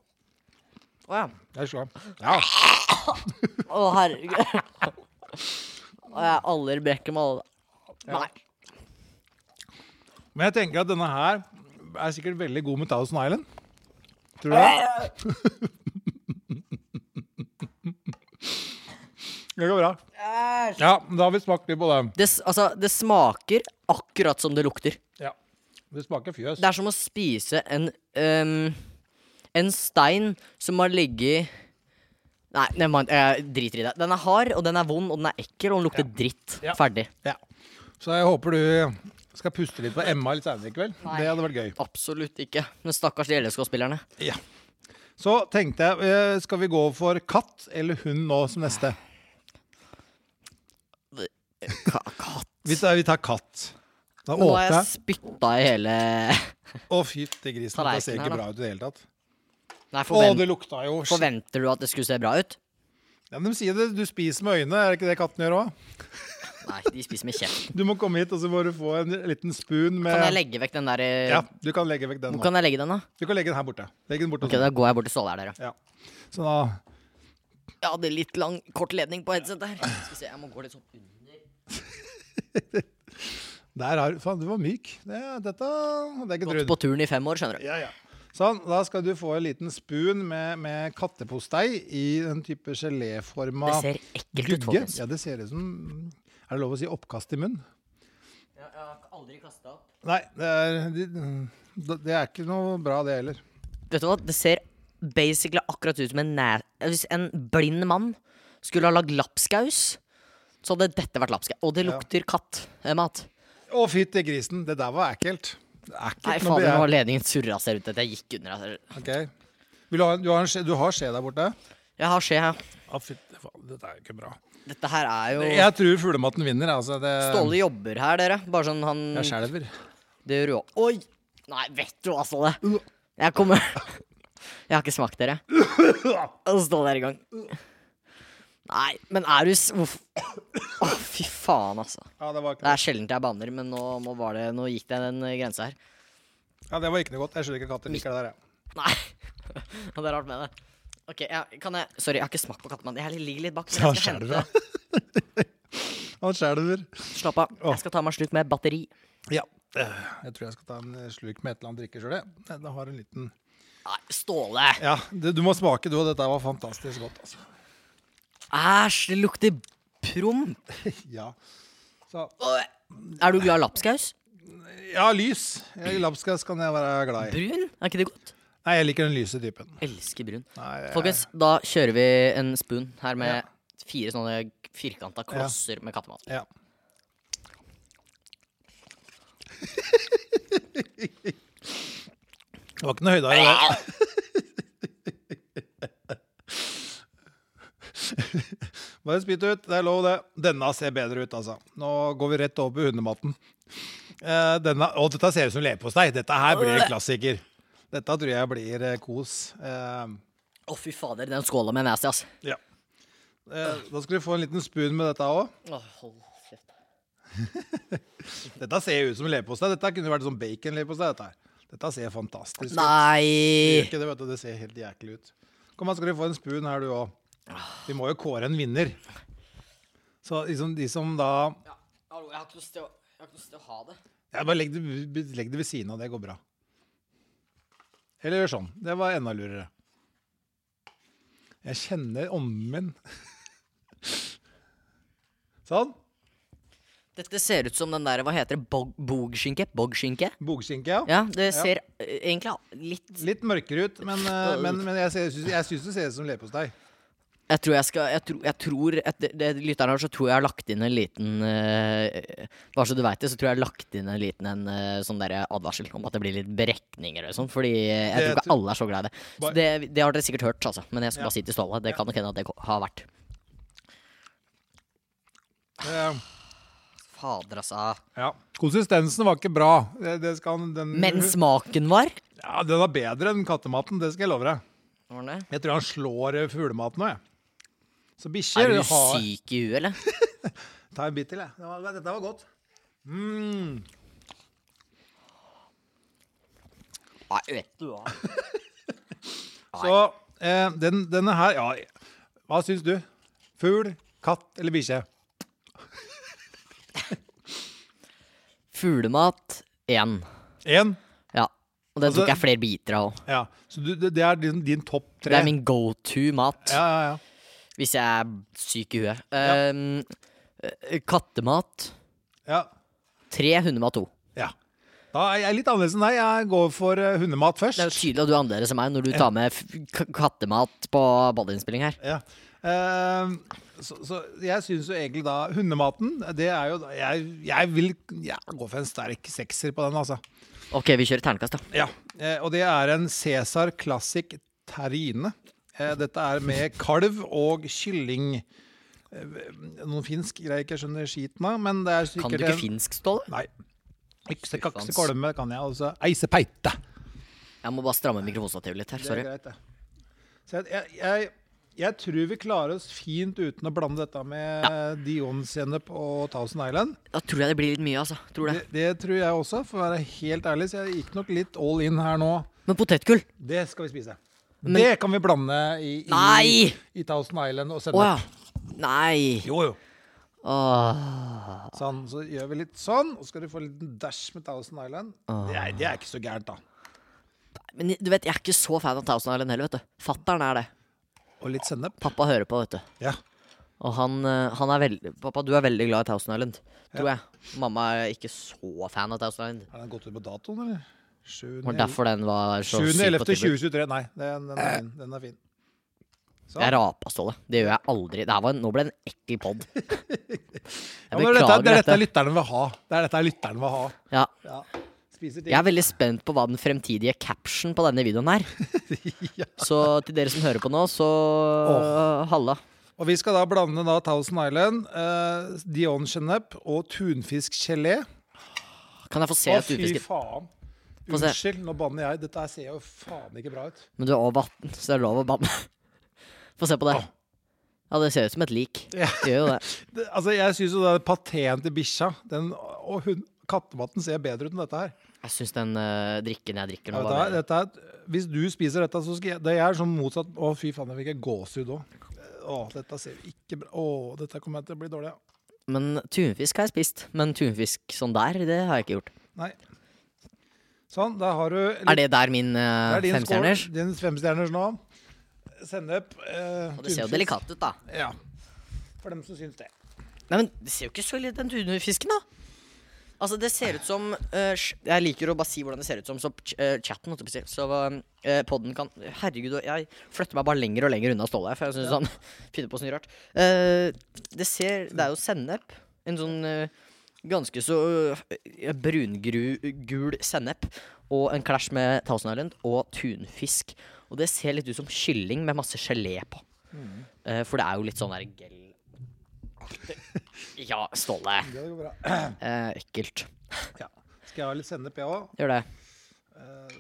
[SPEAKER 1] Å ja.
[SPEAKER 2] Jeg skal. Ja.
[SPEAKER 1] Å herregud. Å, jeg aldri brekker med alle. Nei.
[SPEAKER 2] Men jeg tenker at denne her er sikkert veldig god med Thousand Island. Tror du det? Det går bra. Ja, men da har vi smakt litt på den.
[SPEAKER 1] Det, s- altså, det smaker akkurat som det lukter.
[SPEAKER 2] Ja. Det smaker fjøs.
[SPEAKER 1] Det er som å spise en ehm, En stein som har ligget Nei, nei man, jeg driter i det. Den er hard, og den er vond, og den er ekkel, og den lukter dritt.
[SPEAKER 2] Ja.
[SPEAKER 1] Ferdig.
[SPEAKER 2] Ja. Så jeg håper du Skal puste litt på Emma litt senere i kveld.
[SPEAKER 1] Nei.
[SPEAKER 2] Det hadde vært gøy.
[SPEAKER 1] Absolutt ikke. Men stakkars de LSK-spillerne.
[SPEAKER 2] Så tenkte jeg, eh, skal vi gå for katt eller hund nå som neste?
[SPEAKER 1] Ka- Katt.
[SPEAKER 2] Vi tar, vi tar katt. Da
[SPEAKER 1] Nå har
[SPEAKER 2] åpner
[SPEAKER 1] jeg
[SPEAKER 2] jeg.
[SPEAKER 1] spytta i hele
[SPEAKER 2] Å, fytti grisen. Det ser
[SPEAKER 1] Tallerkenen her,
[SPEAKER 2] ikke
[SPEAKER 1] da.
[SPEAKER 2] bra ut i det hele tatt.
[SPEAKER 1] Nei,
[SPEAKER 2] Å,
[SPEAKER 1] forvent,
[SPEAKER 2] det lukta jo ja,
[SPEAKER 1] forventer du at det skulle se bra ut?
[SPEAKER 2] men De sier det, du spiser med øynene, er det ikke det katten gjør òg?
[SPEAKER 1] Nei, de spiser med kjeften.
[SPEAKER 2] Du må komme hit, og så må du få en liten spoon med
[SPEAKER 1] Kan jeg legge vekk den der eh,
[SPEAKER 2] Ja, du kan legge vekk den
[SPEAKER 1] Hvor
[SPEAKER 2] nå.
[SPEAKER 1] kan jeg legge den, da?
[SPEAKER 2] Du kan legge den her borte. Legg den borte
[SPEAKER 1] Ok, Da går jeg bort til Ståle her, dere.
[SPEAKER 2] sånn. Ja. Så da
[SPEAKER 1] Jeg hadde litt lang, kort ledning på headsetet her. Skal vi se, jeg må gå litt sånn under.
[SPEAKER 2] Der har du Faen, du var myk. Det, dette hadde jeg ikke
[SPEAKER 1] Gått
[SPEAKER 2] trodd.
[SPEAKER 1] på turen i fem år, skjønner du.
[SPEAKER 2] Ja, ja. Sånn, da skal du få en liten spoon med, med kattepostei i den type geléforma
[SPEAKER 1] Det ser ekkelt ut,
[SPEAKER 2] gugge.
[SPEAKER 1] folkens.
[SPEAKER 2] Ja, det ser ut som Er det lov å si oppkast i munn?
[SPEAKER 1] Jeg har aldri kasta opp.
[SPEAKER 2] Nei, det er, det- det er ikke noe bra, det heller.
[SPEAKER 1] Vet du hva, det ser basically akkurat ut som en næ... Hvis en blind mann skulle ha lagd lapskaus, så hadde dette vært lapskaus. Og det
[SPEAKER 2] Ja.
[SPEAKER 1] lukter eh, kattmat.
[SPEAKER 2] Å, fytti grisen. Det der var ekkelt. Det er ekkelt.
[SPEAKER 1] Nei,
[SPEAKER 2] Nå
[SPEAKER 1] fader, nå
[SPEAKER 2] blir
[SPEAKER 1] har ledningen surra seg rundt. at Jeg gikk under. altså.
[SPEAKER 2] jeg- Ok. Vil du, ha, en- du, har en skje, du har skje der borte?
[SPEAKER 1] Jeg har skje her.
[SPEAKER 2] Å, fytti faen. Dette er jo ikke bra.
[SPEAKER 1] Dette her er jo
[SPEAKER 2] Jeg tror fuglematen vinner, altså. Det,
[SPEAKER 1] Ståle jobber her, dere. Bare sånn han
[SPEAKER 2] Jeg skjelver.
[SPEAKER 1] Det gjør jo Oi! Nei, vet du hva, Ståle? Jeg kommer Jeg har ikke smakt dere. Og Ståle er i gang. Nei, men er du s... Hvorfor Å, fy faen, altså.
[SPEAKER 2] Ja, det var
[SPEAKER 1] Det
[SPEAKER 2] ikke,
[SPEAKER 1] er sjeldent jeg banner, men nå, nå, var det, nå gikk det en eh, grense her.
[SPEAKER 2] ja, det var ikke noe godt. Jeg skjønner ikke at katter liker det der, jeg.
[SPEAKER 1] Nei. Det er rart med det. Ok, jeg, kan jeg Sorry, jeg har ikke smakt på kattemann. Jeg ligger litt bak.
[SPEAKER 2] Han
[SPEAKER 1] Men jeg skal
[SPEAKER 2] skjelver.
[SPEAKER 1] hente
[SPEAKER 2] Han skjelver.
[SPEAKER 1] Slapp av. Jeg skal ta meg en slurk med batteri.
[SPEAKER 2] Ja. Jeg tror jeg skal ta en eh, slurk med et eller annet drikke sjøl, jeg. Nei, Da har jeg en liten
[SPEAKER 1] Nei, Ståle!
[SPEAKER 2] Ja, det, du må smake, du. og Dette var fantastisk godt, altså.
[SPEAKER 1] Æsj, det lukter promp.
[SPEAKER 2] Ja. Så
[SPEAKER 1] Er du glad i lapskaus?
[SPEAKER 2] Ja, lys. Jeg- Lapskaus kan jeg være glad i.
[SPEAKER 1] Brun? Er ikke det godt?
[SPEAKER 2] Nei, jeg liker den lyse typen.
[SPEAKER 1] Elsker brun.
[SPEAKER 2] Nei, jeg-
[SPEAKER 1] Folkens, da kjører vi en spoon her med fire sånne firkanta klosser med kattemat.
[SPEAKER 2] Ja. Det var ikke noe høyde i det. Bare spytt ut. Det er lov, det. Denne ser bedre ut, altså. Nå går vi rett over på hundematen. Eh, Denne, å, dette ser ut som leverpostei. Dette her blir en klassiker. Dette tror jeg blir eh, kos. Eh,
[SPEAKER 1] Å, fy fader, den skåla med nasty, ass.
[SPEAKER 2] ja. Eh, Da skal du få en liten spoon med dette òg.
[SPEAKER 1] Å, hold kjeft.
[SPEAKER 2] Dette ser jo ut som leverpostei. Dette kunne vært sånn bacon-leverpostei. Dette, her. dette ser fantastisk ut. Det gjør
[SPEAKER 1] Nei!
[SPEAKER 2] ikke det, vet du. Det ser helt jæklig ut. Kom, her skal du få en spoon her, du òg. Vi må jo kåre en vinner. Så liksom de som da
[SPEAKER 1] Hallo, jeg har ikke lyst til å, jeg har ikke lyst til å ha det.
[SPEAKER 2] ja, Bare legg det, legg det ved siden av, det går bra. Eller gjør sånn. Det var enda lurere. Jeg kjenner ånden min. sånn.
[SPEAKER 1] Dette ser ut som den der, hva heter det, bog, bogskinke? Bogskinke?
[SPEAKER 2] Bogskinke, ja.
[SPEAKER 1] Ja, det ser eh, egentlig litt
[SPEAKER 2] Litt mørkere ut, men, eh, men, men jeg ser- jeg syns det ser ut som leverpostei.
[SPEAKER 1] Jeg tror jeg skal Jeg tror, jeg tror etter det lytteren har, så tror jeg jeg har lagt inn en liten eh, Bare så du veit det, så tror jeg jeg har lagt inn en liten en, eh, sånn derre advarsel om at det blir litt berekninger eller sånn, fordi jeg
[SPEAKER 2] Det
[SPEAKER 1] tror ikke
[SPEAKER 2] tror-
[SPEAKER 1] alle er så glad i det. Så
[SPEAKER 2] Bare-
[SPEAKER 1] det, det har dere sikkert hørt, altså. Men jeg skal
[SPEAKER 2] Ja.
[SPEAKER 1] bare si til Ståle, det kan nok hende at det ko- har vært.
[SPEAKER 2] Eh,
[SPEAKER 1] Fader, altså.
[SPEAKER 2] Ja. Konsistensen var ikke bra. Det, det skal, den,
[SPEAKER 1] Men smaken var
[SPEAKER 2] ja, den er bedre enn kattematen, det skal jeg love deg.
[SPEAKER 1] Var den det?
[SPEAKER 2] Jeg tror han slår eh, fuglematen òg, jeg. Så
[SPEAKER 1] Er
[SPEAKER 2] bikkjer
[SPEAKER 1] du
[SPEAKER 2] har
[SPEAKER 1] syk i huet, eller?
[SPEAKER 2] Ta en bit til, jeg. Det var, dette var godt. Mm.
[SPEAKER 1] Nei, vet du hva.
[SPEAKER 2] Så eh, den, denne her Ja, hva syns du? Fugl, katt eller bikkje?
[SPEAKER 1] Fuglemat én.
[SPEAKER 2] Én?
[SPEAKER 1] Ja. Og den
[SPEAKER 2] Altså-
[SPEAKER 1] tok jeg flere biter av òg.
[SPEAKER 2] Ja. Så du, det, det er din, din topp tre?
[SPEAKER 1] Det er min go to-mat.
[SPEAKER 2] Ja, ja, ja.
[SPEAKER 1] Hvis jeg er syk i huet. Ehm, eh, kattemat.
[SPEAKER 2] ja.
[SPEAKER 1] Tre, hundemat to.
[SPEAKER 2] ja. Da er jeg litt annerledes enn deg. Jeg går for eh, hundemat først.
[SPEAKER 1] Det er jo tydelig at du er annerledes enn meg når du tar med f k kattemat på ballinnspilling her.
[SPEAKER 2] Ja. Eh, Så, så jeg syns jo egentlig da Hundematen, det er jo da- Jeg, jeg vil jeg går for en sterk sekser på den, altså.
[SPEAKER 1] OK, vi kjører ternekast, da.
[SPEAKER 2] Ja, eh, og det er en Cæsar Classic Terrine. Eh, Dette er med kalv og kylling. Eh, Noen finsk greier jeg ikke skjønner skiten av, men det er sikkert
[SPEAKER 1] Kan du ikke finsk, Ståle?
[SPEAKER 2] Nei. Ikse, kakse,
[SPEAKER 1] Fy faen.
[SPEAKER 2] kolme kan jeg altså. Eise peite.
[SPEAKER 1] Jeg må bare stramme mikrofonstativet litt her.
[SPEAKER 2] Det er
[SPEAKER 1] Sorry.
[SPEAKER 2] greit, det. Så jeg, jeg, jeg, jeg tror vi klarer oss fint uten å blande dette med ja. Dion-sennep og Thousand Island.
[SPEAKER 1] Da tror jeg det blir litt mye, altså. Tror
[SPEAKER 2] Det,
[SPEAKER 1] det.
[SPEAKER 2] det tror jeg også, for å være helt ærlig. Så jeg gikk nok litt all in her nå.
[SPEAKER 1] Men potetgull?
[SPEAKER 2] Det skal vi spise.
[SPEAKER 1] Men-
[SPEAKER 2] det kan vi blande i, i,
[SPEAKER 1] Nei!
[SPEAKER 2] i Thousand Island og
[SPEAKER 1] Å
[SPEAKER 2] sennep.
[SPEAKER 1] ja. Nei.
[SPEAKER 2] Jo, jo.
[SPEAKER 1] Åh.
[SPEAKER 2] Sånn, så gjør vi litt sånn, og så skal du få en liten dash med Thousand Island.
[SPEAKER 1] Ah.
[SPEAKER 2] Det er, det er ikke så gærent, da.
[SPEAKER 1] Men du vet, jeg er ikke så fan av Thousand Island heller, vet du. Fattern er det.
[SPEAKER 2] Og litt sennep.
[SPEAKER 1] Pappa hører på, vet du.
[SPEAKER 2] Ja.
[SPEAKER 1] Og han, eh, han er veldig Pappa, du er veldig glad i Thousand Island, tror jeg. Mamma er ikke så fan av Thousand Island.
[SPEAKER 2] Er den gått ut på datoen, eller?
[SPEAKER 1] Det var
[SPEAKER 2] 7.11.
[SPEAKER 1] derfor den var så syk på tilbud.
[SPEAKER 2] 7.11.2023. Nei, den, den, er fin. den er fin. Sånn.
[SPEAKER 1] Jeg rapa, Ståle. Det gjør jeg aldri. Det her var, nå ble det en ekkel pod. Jeg
[SPEAKER 2] Ja, men det er dette, det er
[SPEAKER 1] beklager
[SPEAKER 2] dette
[SPEAKER 1] dette.
[SPEAKER 2] lytterne vil ha. Det er dette lytterne vil ha.
[SPEAKER 1] Ja.
[SPEAKER 2] Ja. Spiser ting.
[SPEAKER 1] Jeg er veldig spent på hva den fremtidige caption på denne videoen er. Så til dere som hører på nå, så halla.
[SPEAKER 2] Og vi skal da blande da Thousand Island, eh, Dion sennep og tunfiskgelé.
[SPEAKER 1] Kan jeg få se
[SPEAKER 2] Å,
[SPEAKER 1] at
[SPEAKER 2] fy
[SPEAKER 1] tunfisken
[SPEAKER 2] faen.
[SPEAKER 1] Få se.
[SPEAKER 2] Unnskyld, nå banner jeg. Dette her ser jo faen ikke bra ut.
[SPEAKER 1] Men du er over 18, så det er lov å banne. Få se på det.
[SPEAKER 2] Åh.
[SPEAKER 1] Ja, det ser ut som et lik.
[SPEAKER 2] Ja.
[SPEAKER 1] Det gjør jo det.
[SPEAKER 2] Det, altså, jeg syns jo den pateen til bikkja den, og hun, kattematen ser bedre ut enn dette her.
[SPEAKER 1] Jeg syns den eh, drikken jeg drikker
[SPEAKER 2] Ja,
[SPEAKER 1] nå,
[SPEAKER 2] dette
[SPEAKER 1] var
[SPEAKER 2] er, dette er, hvis du spiser dette, så skal jeg Det er sånn motsatt. Å, fy faen, jeg fikk en gåsehud òg. Å, dette ser jo ikke bra Å, dette kommer jeg til å bli dårlig av.
[SPEAKER 1] bedre. Men tunfisk har jeg spist. Men tunfisk sånn der, det har jeg ikke gjort.
[SPEAKER 2] Nei. Sånn, da har du
[SPEAKER 1] Er det der min
[SPEAKER 2] Det
[SPEAKER 1] uh,
[SPEAKER 2] er din skål.
[SPEAKER 1] femstjerners?
[SPEAKER 2] Din femstjerners nå. Sennep. Eh,
[SPEAKER 1] Og det ser jo
[SPEAKER 2] tunfisk.
[SPEAKER 1] delikat ut, da.
[SPEAKER 2] Ja. For dem som syns det.
[SPEAKER 1] Nei, men det ser jo ikke så litt den tunfisken, da. Altså, det ser ut som eh, sj- Jeg liker å bare si hvordan det ser ut som, så ch eh, chatten holdt jeg på å si. Så eh, podden kan Herregud, og jeg flytter meg bare lenger og lenger unna Ståle. For jeg syns han finner på så mye rart. Eh, det ser Det er jo sennep. En sånn eh, ganske så uh, brungul sennep. Og en clash med Thousand Island og tunfisk. Og det ser litt ut som kylling med masse gelé på. Eh, for det er jo litt sånn der gel... Ja, Ståle.
[SPEAKER 2] Det går bra.
[SPEAKER 1] Eh, ekkelt.
[SPEAKER 2] Ja. Skal jeg ha litt sennep, jeg òg?
[SPEAKER 1] Gjør det.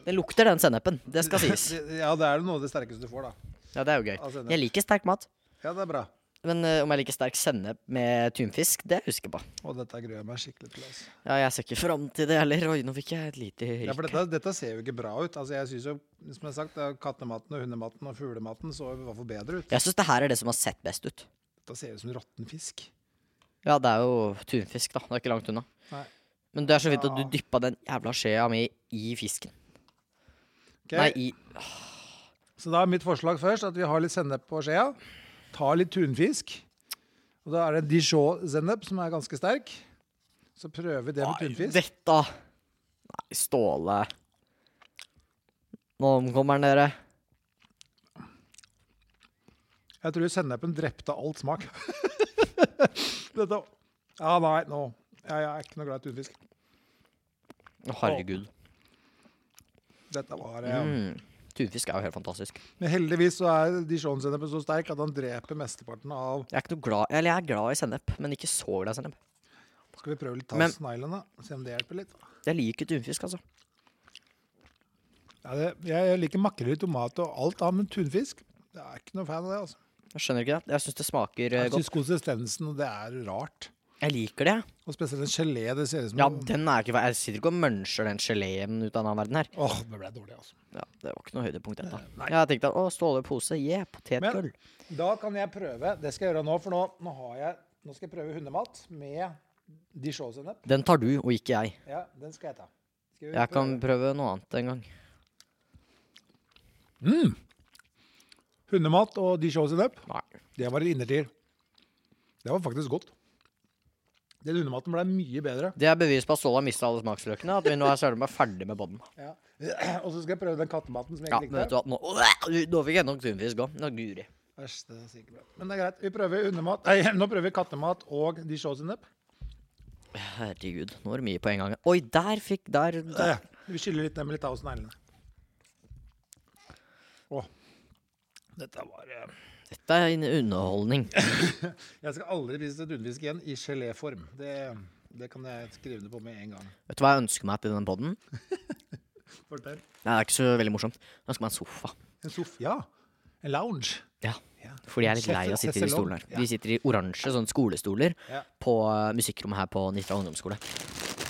[SPEAKER 1] Det lukter den sennepen. Det skal sies.
[SPEAKER 2] Ja, det er jo noe av det sterkeste du får, da.
[SPEAKER 1] Ja, det er jo
[SPEAKER 2] Av
[SPEAKER 1] gøy.
[SPEAKER 2] sennep.
[SPEAKER 1] Jeg liker sterk mat.
[SPEAKER 2] Ja, det er bra.
[SPEAKER 1] Men eh, om jeg liker sterk sennep med tunfisk, det er jeg usikker på.
[SPEAKER 2] Og dette gruer jeg meg skikkelig til. Altså.
[SPEAKER 1] Ja, jeg ser ikke fram til det heller. Oi, nå fikk jeg et lite
[SPEAKER 2] Ja, for
[SPEAKER 1] hikk.
[SPEAKER 2] dette, dette ser jo ikke bra ut. Altså, jeg synes jo, som jeg har sagt, det er Kattematen og hundematen og fuglematen så i hvert fall bedre ut.
[SPEAKER 1] Jeg syns det her er det som har sett best ut.
[SPEAKER 2] Dette ser ut som råtten fisk.
[SPEAKER 1] Ja, det er jo tunfisk, da. Det er ikke langt unna.
[SPEAKER 2] Nei.
[SPEAKER 1] Men det er så vidt at du
[SPEAKER 2] Ja.
[SPEAKER 1] dyppa den jævla skjea mi i fisken.
[SPEAKER 2] Ok,
[SPEAKER 1] Nei, i
[SPEAKER 2] Så da er mitt forslag først at vi har litt sennep på skjea. Ta litt tunfisk. Og da er det Dijon-sennep, som er ganske sterk. Så prøver vi det med
[SPEAKER 1] Nei,
[SPEAKER 2] tunfisk.
[SPEAKER 1] Dette Nei, Ståle. Nå omkommer den, dere.
[SPEAKER 2] Jeg tror sennepen drepte alt smak. dette Ja, nei, nå. Jeg, jeg er ikke noe glad i tunfisk.
[SPEAKER 1] Å, Herregud.
[SPEAKER 2] Dette var eh,
[SPEAKER 1] Mm. Tunfisk er jo helt fantastisk.
[SPEAKER 2] Men heldigvis så er Dijon-sennepen så sterk at han dreper mesteparten av
[SPEAKER 1] Jeg er ikke noe glad Eller jeg er glad i sennep, men ikke så glad i sennep.
[SPEAKER 2] Skal vi prøve litt
[SPEAKER 1] Men-
[SPEAKER 2] Thousand Island, da? Se om det hjelper litt.
[SPEAKER 1] Jeg liker tunfisk, altså.
[SPEAKER 2] Ja, det, jeg liker makrell i tomat og alt annet, men tunfisk Jeg er ikke noe fan av det. altså.
[SPEAKER 1] Jeg skjønner ikke det. Jeg syns det smaker eh,
[SPEAKER 2] Jeg
[SPEAKER 1] godt.
[SPEAKER 2] syns konsistensen det er rart.
[SPEAKER 1] Jeg liker det. jeg.
[SPEAKER 2] Og spesielt en gelé. Det ser ut som
[SPEAKER 1] Ja, den er ikke fa- Jeg sitter ikke og muncher den geleen ut av den verden her.
[SPEAKER 2] Åh, det ble dårlig, altså.
[SPEAKER 1] Ja, Det var ikke noe høydepunkt, dette. Jeg tenkte at å, Ståle pose, yeah, potetgull.
[SPEAKER 2] Da kan jeg prøve. Det skal jeg gjøre nå, for nå, nå har jeg Nå skal jeg prøve hundemat med dijon-sennep.
[SPEAKER 1] Den tar du, og ikke jeg.
[SPEAKER 2] Ja, den skal jeg ta. Skal vi
[SPEAKER 1] Jeg kan
[SPEAKER 2] prøve?
[SPEAKER 1] prøve noe annet en gang.
[SPEAKER 2] Hundemat og dijon-sennep,
[SPEAKER 1] Nei.
[SPEAKER 2] det var en innertier. Det var faktisk godt. Den hundematen ble mye bedre.
[SPEAKER 1] Det er bevis på at Ståle har mista alle smaksløkene. At vi nå er søren meg ferdig med bånden.
[SPEAKER 2] Ja. Og så skal jeg prøve den kattematen som jeg
[SPEAKER 1] Ja,
[SPEAKER 2] ikke
[SPEAKER 1] men vet du
[SPEAKER 2] likte.
[SPEAKER 1] hva, nå, nå fikk jeg nok tunfisk òg. Nå guri.
[SPEAKER 2] Æsj, det er sikkert bra. Men det er greit. Vi prøver hundemat. Nei, nå prøver vi kattemat og dijon-sennep.
[SPEAKER 1] Herregud, nå er det mye på en gang. Oi, der fikk Der. der.
[SPEAKER 2] Eh, Vi skyller litt ned med litt av oss neglene. Å. Dette var eh,
[SPEAKER 1] Dette er en underholdning.
[SPEAKER 2] Jeg skal aldri spise tunfisk igjen i geléform. Det, det kan jeg skrive det på med en gang.
[SPEAKER 1] Vet du hva jeg ønsker meg til denne poden?
[SPEAKER 2] Fortell.
[SPEAKER 1] Det er ikke så veldig morsomt. Jeg ønsker meg en sofa.
[SPEAKER 2] En sofa. Ja. En lounge.
[SPEAKER 1] Ja,
[SPEAKER 2] Ja.
[SPEAKER 1] Fordi jeg er litt lei av å sitte i de
[SPEAKER 2] Sesselong.
[SPEAKER 1] stolene her.
[SPEAKER 2] Ja.
[SPEAKER 1] De sitter i oransje sånne skolestoler
[SPEAKER 2] Ja.
[SPEAKER 1] på eh, musikkrommet her på Nitra ungdomsskole.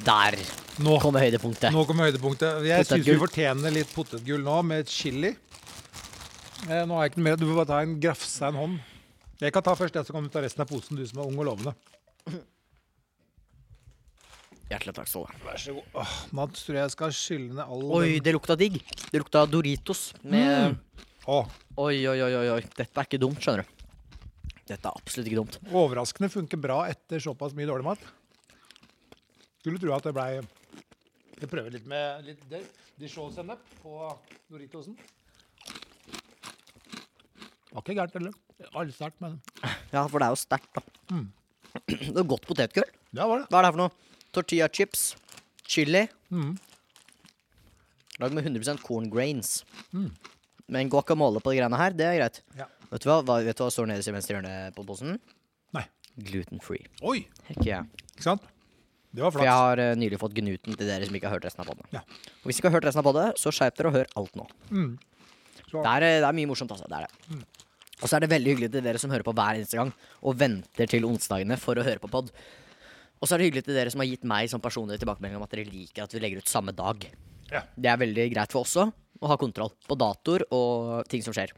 [SPEAKER 1] Der
[SPEAKER 2] Nå,
[SPEAKER 1] kommer høydepunktet.
[SPEAKER 2] nå kommer høydepunktet. Jeg syns vi
[SPEAKER 1] Potetgull.
[SPEAKER 2] fortjener litt potetgull nå, med chili. Eh, nå har jeg ikke noe mer. Du får bare ta en grafse en hånd. Jeg kan ta først jeg, så kan du ta resten av posen, du som er ung og lovende.
[SPEAKER 1] Hjertelig takk skal du ha.
[SPEAKER 2] Vær så god. Åh, nå tror jeg jeg skal skylle ned all
[SPEAKER 1] Oi, det lukta digg. Det lukta Doritos med
[SPEAKER 2] den Åh,
[SPEAKER 1] Oi, oi, oi, oi, oi. Dette er ikke dumt, skjønner du. Dette er absolutt ikke dumt.
[SPEAKER 2] Overraskende funker bra etter såpass mye dårlig mat. Skulle tro at det blei Jeg prøver litt med litt del- dijon-sennep på Doritosen. Var ikke gærent, eller? Det var litt sterkt, men
[SPEAKER 1] Ja, for det er jo sterkt, da.
[SPEAKER 2] Mm.
[SPEAKER 1] Det er godt potetgull.
[SPEAKER 2] Ja, var det.
[SPEAKER 1] Hva er det her for noe? Tortilla chips, chili. Mm. Lag med 100 corn grains. Men guacamole på de greiene her, det er greit.
[SPEAKER 2] Ja.
[SPEAKER 1] Vet du hva, hva, vet du hva står nederst i venstre hjørne på posen?
[SPEAKER 2] Nei.
[SPEAKER 1] Gluten free.
[SPEAKER 2] Oi!
[SPEAKER 1] Heck yeah.
[SPEAKER 2] Ikke sant? Det var
[SPEAKER 1] For jeg
[SPEAKER 2] flaks.
[SPEAKER 1] har eh, nylig fått gnuten til dere som ikke har hørt resten av podden.
[SPEAKER 2] Ja.
[SPEAKER 1] Og hvis dere ikke har hørt resten av podden, så skjerp dere og hør alt nå.
[SPEAKER 2] Så-
[SPEAKER 1] Det, er, eh, det er mye morsomt, altså. Det er det. Og så er det veldig hyggelig til dere som hører på hver eneste gang, og venter til onsdagene for å høre på pod. Og så er det hyggelig til dere som har gitt meg sånn personlig tilbakemelding om at dere liker at vi legger ut samme dag.
[SPEAKER 2] Ja.
[SPEAKER 1] Det er veldig greit for oss også å ha kontroll på datoer og ting som skjer.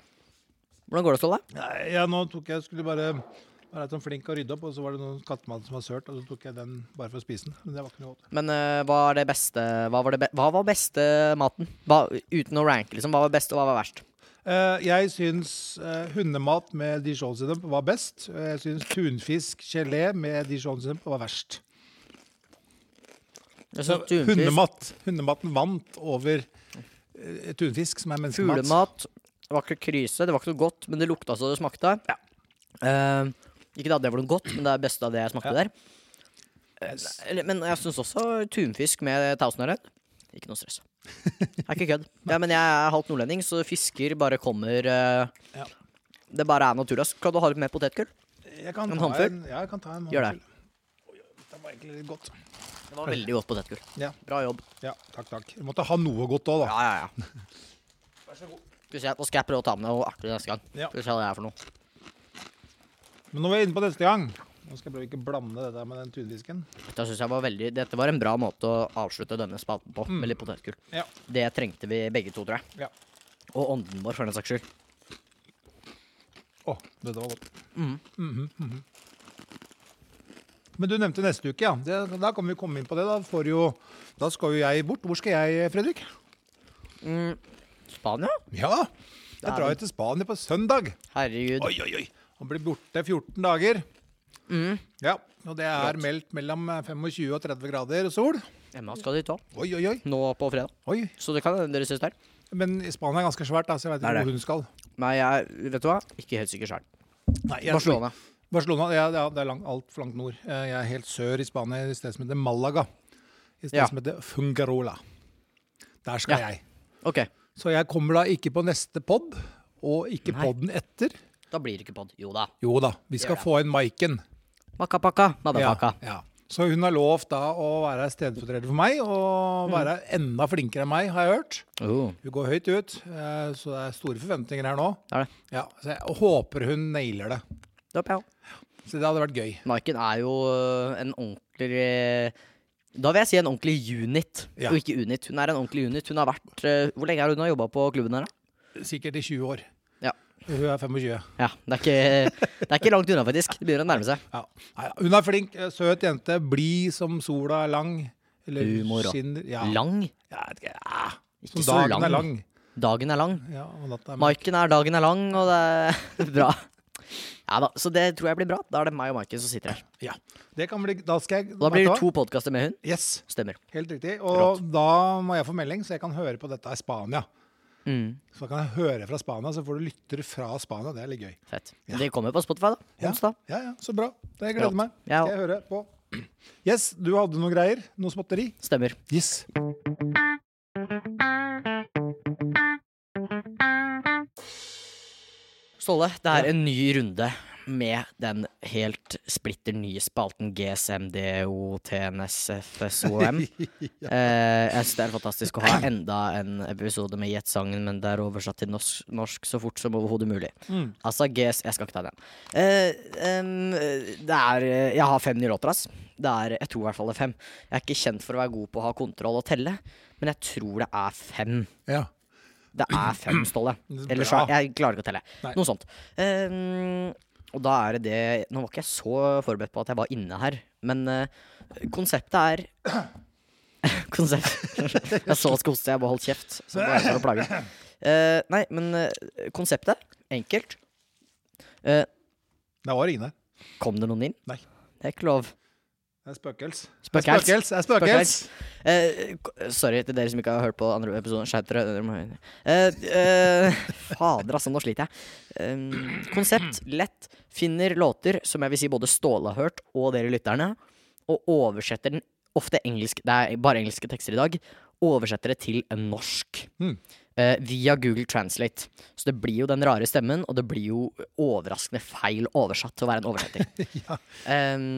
[SPEAKER 1] Hvordan går det, Ståle?
[SPEAKER 2] Nei, ja, nå tok jeg skulle bare være sånn flink å rydde opp, og så var det noen kattemat som var sølt, og så tok jeg den bare for å spise den. Men det var ikke noe godt.
[SPEAKER 1] Men eh, hva er det beste Hva var, det be hva var beste maten? Hva, uten å ranke, liksom. Hva var best, og hva var verst?
[SPEAKER 2] Eh, jeg syns eh, hundemat med dijon-sennep var best. og Jeg syns tunfisk gelé med dijon-sennep var verst. Så
[SPEAKER 1] Jeg synes tunfisk,
[SPEAKER 2] hundemat, hundematen vant over eh, tunfisk, som er menneskemat.
[SPEAKER 1] fuglemat Det var ikke krise, det var ikke noe godt, men det lukta så det smakte. Eh, ikke at det var noe godt, men det er det beste av det jeg smakte der. Eh, eller- Men jeg syns også tunfisk med tausendøren. Ikke noe stress. Det er ikke kødd. Ja, men jeg er halvt nordlending, så fisker bare kommer eh,
[SPEAKER 2] Ja.
[SPEAKER 1] Det bare er naturlig. ass. Kan du ha litt mer potetgull?
[SPEAKER 2] Jeg kan
[SPEAKER 1] En
[SPEAKER 2] ta
[SPEAKER 1] håndfull?
[SPEAKER 2] En, ja, jeg kan ta en
[SPEAKER 1] Gjør det.
[SPEAKER 2] håndfull. Oi, oi, Det var egentlig litt godt.
[SPEAKER 1] Det var veldig godt potetgull.
[SPEAKER 2] Ja,
[SPEAKER 1] Bra jobb.
[SPEAKER 2] ja takk, takk. Vi måtte ha noe godt òg, da.
[SPEAKER 1] Ja, ja, ja. Skal vi se, Nå skal jeg prøve å ta med noe artig neste gang.
[SPEAKER 2] Ja.
[SPEAKER 1] Skal vi se hva det er for noe.
[SPEAKER 2] Men nå er vi inne på neste gang. Nå skal jeg prøve ikke å blande det der med den tunfisken.
[SPEAKER 1] Dette, synes jeg var veldig, dette var en bra måte å avslutte denne spalten på,
[SPEAKER 2] Mm.
[SPEAKER 1] med litt potetgull.
[SPEAKER 2] Ja.
[SPEAKER 1] Det trengte vi begge to, tror jeg.
[SPEAKER 2] ja.
[SPEAKER 1] Og ånden vår, for den saks skyld.
[SPEAKER 2] Å, dette var godt. Mhm, mhm. Men du nevnte neste uke, ja. Det, da kan vi komme inn på det. Da, får jo, da skal jo jeg bort. Hvor skal jeg, Fredrik?
[SPEAKER 1] Spania?
[SPEAKER 2] Ja, jeg drar jo til Spania på søndag.
[SPEAKER 1] Herregud.
[SPEAKER 2] Oi, oi, oi. Og blir borte 14 dager.
[SPEAKER 1] Mm.
[SPEAKER 2] Ja, og det er meldt mellom 25 og 30 grader sol.
[SPEAKER 1] Emma skal dit òg.
[SPEAKER 2] Oi, oi, oi.
[SPEAKER 1] Nå på fredag.
[SPEAKER 2] oi.
[SPEAKER 1] Så det kan hende dere ses der.
[SPEAKER 2] Men Spania er ganske svært, da, så jeg vet
[SPEAKER 1] Det er
[SPEAKER 2] ikke
[SPEAKER 1] det.
[SPEAKER 2] hvor hun skal.
[SPEAKER 1] Nei, jeg Vet du hva? Ikke helt sikker sjøl.
[SPEAKER 2] Nei, jeg-
[SPEAKER 1] Barcelona.
[SPEAKER 2] Barcelona, ja, det er- det er langt, alt for langt nord. Eh, Jeg er helt sør i Spania, i stedet som heter Malaga. I stedet
[SPEAKER 1] Ja.
[SPEAKER 2] som heter Fungarola. Der skal
[SPEAKER 1] Ja.
[SPEAKER 2] jeg.
[SPEAKER 1] OK.
[SPEAKER 2] Så jeg kommer da ikke på neste pod, og ikke
[SPEAKER 1] Nei.
[SPEAKER 2] podden etter.
[SPEAKER 1] Da blir det ikke pod. Jo da.
[SPEAKER 2] Jo da, vi skal
[SPEAKER 1] Gjør det.
[SPEAKER 2] få inn Maiken. Ja,
[SPEAKER 1] Makapaka, madapaka.
[SPEAKER 2] ja. Så hun har lovt da å være stedfortreder for meg, og være enda flinkere enn meg, har jeg hørt.
[SPEAKER 1] Oh,
[SPEAKER 2] Hun går høyt ut, eh, så det er store forventninger her nå.
[SPEAKER 1] det er det.
[SPEAKER 2] Ja, så jeg håper hun nailer det.
[SPEAKER 1] Det håper jeg òg.
[SPEAKER 2] Så det hadde vært gøy.
[SPEAKER 1] Maiken er jo øh, en ordentlig øh, Da vil jeg si en ordentlig unit,
[SPEAKER 2] Ja.
[SPEAKER 1] og ikke unit. Hun er en ordentlig unit. Hun har vært øh, Hvor lenge har hun jobba på klubben her, da?
[SPEAKER 2] Sikkert i 20 år.
[SPEAKER 1] Ja.
[SPEAKER 2] Hun er 25.
[SPEAKER 1] Ja, det er ikke, det er ikke langt unna, faktisk. Det begynner å nærme seg.
[SPEAKER 2] Ja. Nei, Hun er flink, eh, søt jente, blid som sola er lang. Eller
[SPEAKER 1] Humor, da.
[SPEAKER 2] skinner ja.
[SPEAKER 1] Lang?
[SPEAKER 2] Ja, jeg vet ikke, ja.
[SPEAKER 1] Ikke
[SPEAKER 2] Som
[SPEAKER 1] så
[SPEAKER 2] dagen
[SPEAKER 1] lang.
[SPEAKER 2] er lang.
[SPEAKER 1] Dagen er lang.
[SPEAKER 2] Ja, og natta er mørk.
[SPEAKER 1] Maiken er dagen er lang, og det er bra. Ja da, så det tror jeg blir bra. Da er det meg og Maiken som sitter her.
[SPEAKER 2] Ja. Det kan bli, da skal jeg
[SPEAKER 1] Og da blir
[SPEAKER 2] vet
[SPEAKER 1] det
[SPEAKER 2] du hva?
[SPEAKER 1] to podkaster med hun.
[SPEAKER 2] Yes,
[SPEAKER 1] Stemmer.
[SPEAKER 2] helt riktig. Og da må jeg få melding, så jeg kan høre på dette i Spania.
[SPEAKER 1] Mm.
[SPEAKER 2] Så da kan jeg høre fra Spania, så får du lyttere fra Spania. Det er litt gøy.
[SPEAKER 1] Fett. Det kommer på Spotify, da.
[SPEAKER 2] Ja.
[SPEAKER 1] Onsdag.
[SPEAKER 2] Ja, ja, Så bra. Det gleder meg.
[SPEAKER 1] Ja.
[SPEAKER 2] Skal jeg høre på. Yes, du hadde noe greier? Noe småtteri?
[SPEAKER 1] Stemmer.
[SPEAKER 2] Yes.
[SPEAKER 1] Ståle, det er en ny runde med den helt splitter nye spalten GSMDOTNSFSOM.
[SPEAKER 2] Ja.
[SPEAKER 1] Eh, jeg synes det er fantastisk å ha enda en episode med Jet-sangen, men det er oversatt til norsk, norsk så fort som overhodet mulig.
[SPEAKER 2] Mm.
[SPEAKER 1] Altså GS Jeg skal ikke ta den. Eh, em, det er eh, Jeg har fem nye låter, ass. Det er, jeg tror i hvert fall det er fem. Jeg er ikke kjent for å være god på å ha kontroll og telle, men jeg tror det er fem.
[SPEAKER 2] Ja.
[SPEAKER 1] Det er fem, Ståle.
[SPEAKER 2] Bra.
[SPEAKER 1] Ellers så Jeg klarer ikke å telle.
[SPEAKER 2] Nei.
[SPEAKER 1] Noe sånt. Ehm, og da er det det Nå var ikke jeg så forberedt på at jeg var inne her, men eh, konseptet er Konsept Jeg så at koste, jeg bare holdt kjeft. Så det er for å plage. Eh, nei, men eh, konseptet enkelt. Eh,
[SPEAKER 2] Det var ingen der.
[SPEAKER 1] kom det noen inn?
[SPEAKER 2] Nei.
[SPEAKER 1] Det er ikke lov.
[SPEAKER 2] Det er spøkels.
[SPEAKER 1] Spøkels.
[SPEAKER 2] Det er spøkels. Det er spøkels.
[SPEAKER 1] Eh, k- sorry til dere som ikke har hørt på andre episoder. Skjerp dere. dere må- Eh, eh, fader, altså. Nå sliter jeg. Em, konsept lett. Finner låter som jeg vil si både Ståle har hørt, og dere lytterne, og oversetter den ofte engelsk Det er bare engelske tekster i dag. Oversetter det til norsk.
[SPEAKER 2] Mm.
[SPEAKER 1] Eh, via Google Translate. Så det blir jo den rare stemmen, og det blir jo overraskende feil oversatt til å være en oversetter.
[SPEAKER 2] Ja.
[SPEAKER 1] Em,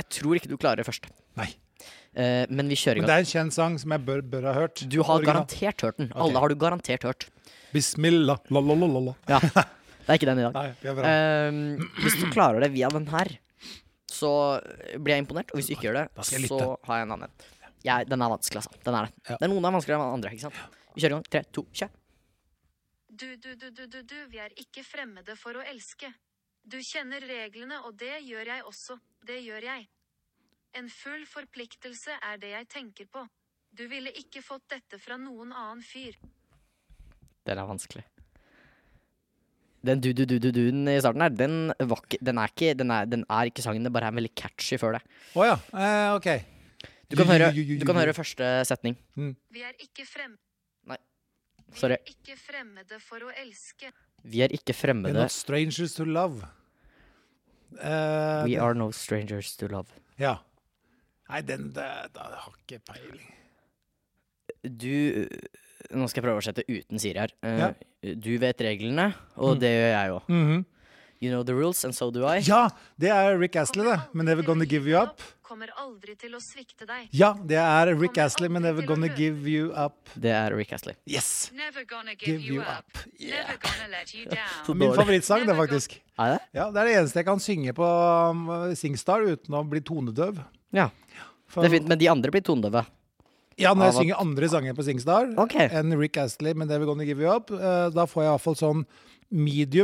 [SPEAKER 1] jeg tror ikke du klarer det først.
[SPEAKER 2] Nei.
[SPEAKER 1] Eh, men vi kjører i
[SPEAKER 2] Men
[SPEAKER 1] gang.
[SPEAKER 2] det er en kjent sang som jeg bør, bør ha hørt.
[SPEAKER 1] Du har
[SPEAKER 2] Original.
[SPEAKER 1] garantert hørt den.
[SPEAKER 2] Ok.
[SPEAKER 1] Alle har du garantert hørt.
[SPEAKER 2] Bismillah. La, la, la, la, la.
[SPEAKER 1] Ja, Det er ikke den i dag.
[SPEAKER 2] Nei, vi er bra.
[SPEAKER 1] Ehm, hvis du klarer det via den her, så blir jeg imponert. Og hvis du ikke gjør
[SPEAKER 2] Da
[SPEAKER 1] det,
[SPEAKER 2] skal jeg lytte.
[SPEAKER 1] så har jeg en annen. Jeg, den er vanskelig, altså. Den er det.
[SPEAKER 2] Ja.
[SPEAKER 1] det er noen er vanskeligere enn andre. ikke sant? Vi kjører i gang. Tre, to, kjør.
[SPEAKER 3] Du, du, du, du, du, du, vi er ikke fremmede for å elske. Du kjenner reglene, og det gjør jeg også. Det gjør jeg. En full forpliktelse er det jeg tenker på. Du ville ikke fått dette fra noen annen fyr.
[SPEAKER 1] Den er vanskelig. Den du-du-du-du-duen i starten her, den, var ikke, den, er ikke, den, er, den er ikke sangen. Det bare er veldig catchy før det.
[SPEAKER 2] Å ja. Eh, OK.
[SPEAKER 1] Du kan høre, du kan høre første setning.
[SPEAKER 3] Vi er ikke frem...
[SPEAKER 1] Nei.
[SPEAKER 3] Vi
[SPEAKER 1] Sorry.
[SPEAKER 3] er ikke fremmede for å elske.
[SPEAKER 1] Vi er ikke
[SPEAKER 2] We're
[SPEAKER 1] fremmede.
[SPEAKER 2] not strangers to love. Eh,
[SPEAKER 1] We are no strangers to love.
[SPEAKER 2] Ja. Nei, den det- da har jeg ikke peiling.
[SPEAKER 1] Du eh, Nå skal jeg prøve å oversette uten Siri her. Eh,
[SPEAKER 2] Ja. Mm. Mhm.
[SPEAKER 1] Du vet reglene, og det gjør jeg òg. You know the rules, and so do I.
[SPEAKER 2] Ja, det er Rick Astley, det.
[SPEAKER 3] Kommer
[SPEAKER 2] Men Never
[SPEAKER 3] aldri til å
[SPEAKER 2] Gonna Give You
[SPEAKER 3] gi
[SPEAKER 2] Up.
[SPEAKER 3] Kommer aldri til å svikte deg.
[SPEAKER 2] Ja, det er Rick
[SPEAKER 3] Kommer
[SPEAKER 2] Astley, men
[SPEAKER 3] aldri
[SPEAKER 2] Never
[SPEAKER 3] til å
[SPEAKER 2] Gonna
[SPEAKER 3] løpe.
[SPEAKER 2] Give You Up.
[SPEAKER 1] Det er Rick Astley.
[SPEAKER 2] Yes!
[SPEAKER 3] Never gonna
[SPEAKER 2] Give you up. Yeah.
[SPEAKER 3] Never gonna let you down.
[SPEAKER 2] Min favorittsang, det, faktisk.
[SPEAKER 1] Er det?
[SPEAKER 2] Ja, Det er det eneste jeg kan synge på um, Singstar uten å bli tonedøv.
[SPEAKER 1] Ja.
[SPEAKER 2] For,
[SPEAKER 1] Det er fint, men de andre blir tonedøve.
[SPEAKER 2] Ja, når jeg
[SPEAKER 1] Av at-
[SPEAKER 2] synger andre sanger på Singstar
[SPEAKER 1] Ok.
[SPEAKER 2] enn Rick Astley med Never Gonna Give You Up, eh, da får jeg iallfall sånn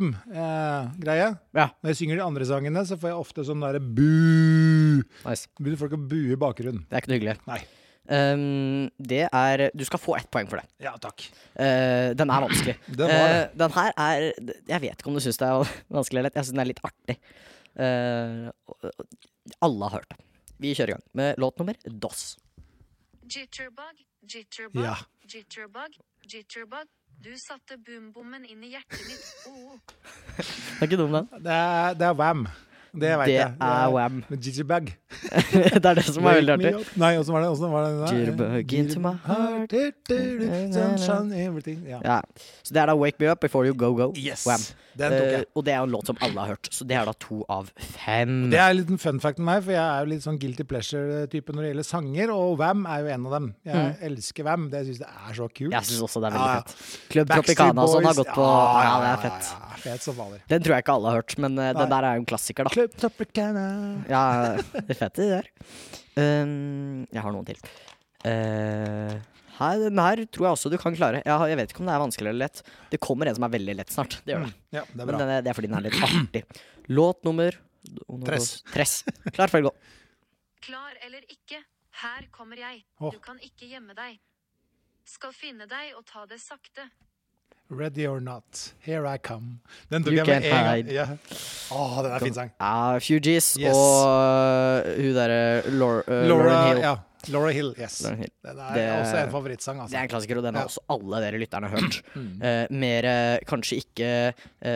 [SPEAKER 2] medium-greie.
[SPEAKER 1] Ja,
[SPEAKER 2] når jeg synger de andre sangene, så får jeg ofte sånn derre bu.
[SPEAKER 1] nice.
[SPEAKER 2] Begynner folk å bue i bakgrunnen.
[SPEAKER 1] Det er ikke noe hyggelig.
[SPEAKER 2] Nei.
[SPEAKER 1] Ehm, det er Du skal få ett poeng for det.
[SPEAKER 2] Ja, takk.
[SPEAKER 1] Eh, den er vanskelig.
[SPEAKER 2] Den var det.
[SPEAKER 1] Eh, den her er Jeg vet ikke om du syns det er vanskelig eller lett. Jeg syns den er litt artig. Eh, og- og- alle har hørt det. Vi kjører i gang med låt nummer DOS.
[SPEAKER 3] Jitterbug, jitterbug,
[SPEAKER 2] Ja.
[SPEAKER 3] jitterbug, jitterbug. Du satte boombommen inn i hjertet mitt. Oh,
[SPEAKER 1] Det er ikke dum, den.
[SPEAKER 2] Det er, det er Wam. Det vet
[SPEAKER 1] Det
[SPEAKER 2] jeg.
[SPEAKER 1] er Wham.
[SPEAKER 2] Med Gigi Bag.
[SPEAKER 1] det er det som er veldig
[SPEAKER 2] Wake me
[SPEAKER 1] artig.
[SPEAKER 2] up. Nei, åssen var det? Hvordan var det? den der?
[SPEAKER 1] Gigi Bug into my heart.
[SPEAKER 2] Du, du, du, sunshine, everything. Ja.
[SPEAKER 1] Ja. Så det er da 'Wake Me Up Before You Go Go'.
[SPEAKER 2] Yes.
[SPEAKER 1] Wham.
[SPEAKER 2] Den tok jeg.
[SPEAKER 1] Eh, og det er jo en låt som alle har hørt, så det er da to av fem.
[SPEAKER 2] Det er litt en fun fact med meg, for jeg er jo litt sånn guilty pleasure-type når det gjelder sanger, og Wam er jo en av dem. Jeg elsker Wam. Det syns jeg er så kult.
[SPEAKER 1] Mm. Jeg syns også det er
[SPEAKER 2] Ja, ja.
[SPEAKER 1] veldig fett. Club
[SPEAKER 2] Backstreet
[SPEAKER 1] Tropicana og sånn har
[SPEAKER 2] Boys. Ah,
[SPEAKER 1] gått på.
[SPEAKER 2] Ja,
[SPEAKER 1] Ja, det er fett.
[SPEAKER 2] ja, ja. Fet som vanlig.
[SPEAKER 1] Den tror jeg ikke alle har hørt, men eh, den
[SPEAKER 2] Nei.
[SPEAKER 1] der er jo en klassiker, da.
[SPEAKER 2] Club Tropicana.
[SPEAKER 1] Ja, det er fett det der. Um, jeg har noen til. Eh, her, den her tror jeg også du kan klare. Jeg, har- jeg vet ikke om det er vanskelig eller lett. Det kommer en som er veldig lett snart. Det gjør det.
[SPEAKER 2] Ja, det er
[SPEAKER 1] Men
[SPEAKER 2] bra.
[SPEAKER 1] den er, det er fordi den er litt artig. Låt nummer
[SPEAKER 2] Tress.
[SPEAKER 1] Tress. Klar, ferdig, gå.
[SPEAKER 3] klar eller ikke, her kommer jeg.
[SPEAKER 2] Åh.
[SPEAKER 3] Du kan ikke gjemme deg. Skal finne deg og ta det sakte.
[SPEAKER 2] Ready or not, here I come. Den tok
[SPEAKER 1] You
[SPEAKER 2] jeg med
[SPEAKER 1] can't
[SPEAKER 2] en gang.
[SPEAKER 1] hide.
[SPEAKER 2] Ja. Åh, den er fin sang.
[SPEAKER 1] Ja, Fugees
[SPEAKER 2] Yes.
[SPEAKER 1] og øh, hun derre Laura,
[SPEAKER 2] Laura,
[SPEAKER 1] Lauren Hill.
[SPEAKER 2] ja. Laura Hill, yes.
[SPEAKER 1] Lauryn Hill.
[SPEAKER 2] Den er
[SPEAKER 1] Det-
[SPEAKER 2] også en favorittsang, altså.
[SPEAKER 1] Det er en klassiker, og den har
[SPEAKER 2] Ja.
[SPEAKER 1] også alle dere lytterne hørt. Eh, mer eh, kanskje ikke eh,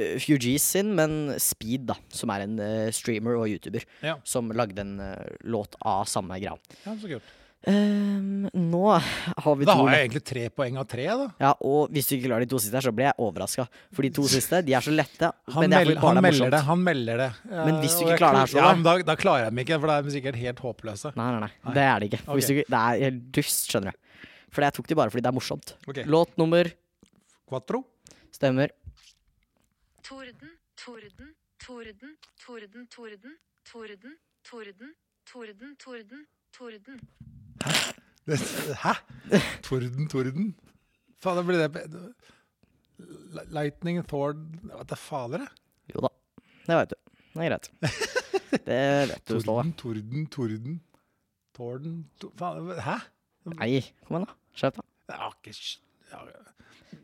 [SPEAKER 1] eh, Fugees sin, men Speed, da, som er en eh, streamer og YouTuber,
[SPEAKER 2] Ja.
[SPEAKER 1] som lagde en eh, låt av samme gran.
[SPEAKER 2] Ja, så kult.
[SPEAKER 1] Ehm, nå har vi
[SPEAKER 2] Da
[SPEAKER 1] to
[SPEAKER 2] har jeg egentlig tre poeng av tre, da.
[SPEAKER 1] ja, og hvis du ikke klarer de to siste her, så blir jeg overraska. For de to siste de er så lette.
[SPEAKER 2] Han,
[SPEAKER 1] men det er
[SPEAKER 2] mel
[SPEAKER 1] fordi
[SPEAKER 2] han
[SPEAKER 1] barna er
[SPEAKER 2] melder det.
[SPEAKER 1] morsomt.
[SPEAKER 2] han melder det. Eh,
[SPEAKER 1] Men hvis du
[SPEAKER 2] og
[SPEAKER 1] ikke
[SPEAKER 2] jeg
[SPEAKER 1] klarer det
[SPEAKER 2] klar-
[SPEAKER 1] her, så-
[SPEAKER 2] ja, men da, da klarer jeg dem ikke, for da er de sikkert helt håpløse.
[SPEAKER 1] Nei, nei, nei, det er det ikke. For Hvis du,
[SPEAKER 2] Ok.
[SPEAKER 1] ikke- det er helt dust, skjønner jeg. For jeg tok de bare fordi det er morsomt.
[SPEAKER 2] Ok.
[SPEAKER 1] Låt nummer
[SPEAKER 2] Quattro.
[SPEAKER 1] stemmer.
[SPEAKER 3] Torden, torden, torden, torden, torden, torden, torden, torden, torden, torden.
[SPEAKER 2] Det- Hæ? Torden, torden? Faen, det blir det Li- Lightning, Thord Hva det fader, det?
[SPEAKER 1] Jo da, det veit du. Det er greit. Det vet du, Ståle.
[SPEAKER 2] Torden, torden, torden. Torden to, Faen, hæ?
[SPEAKER 1] Nei, kom igjen, da. Skjerp deg.
[SPEAKER 2] Det er ikke sj- ja,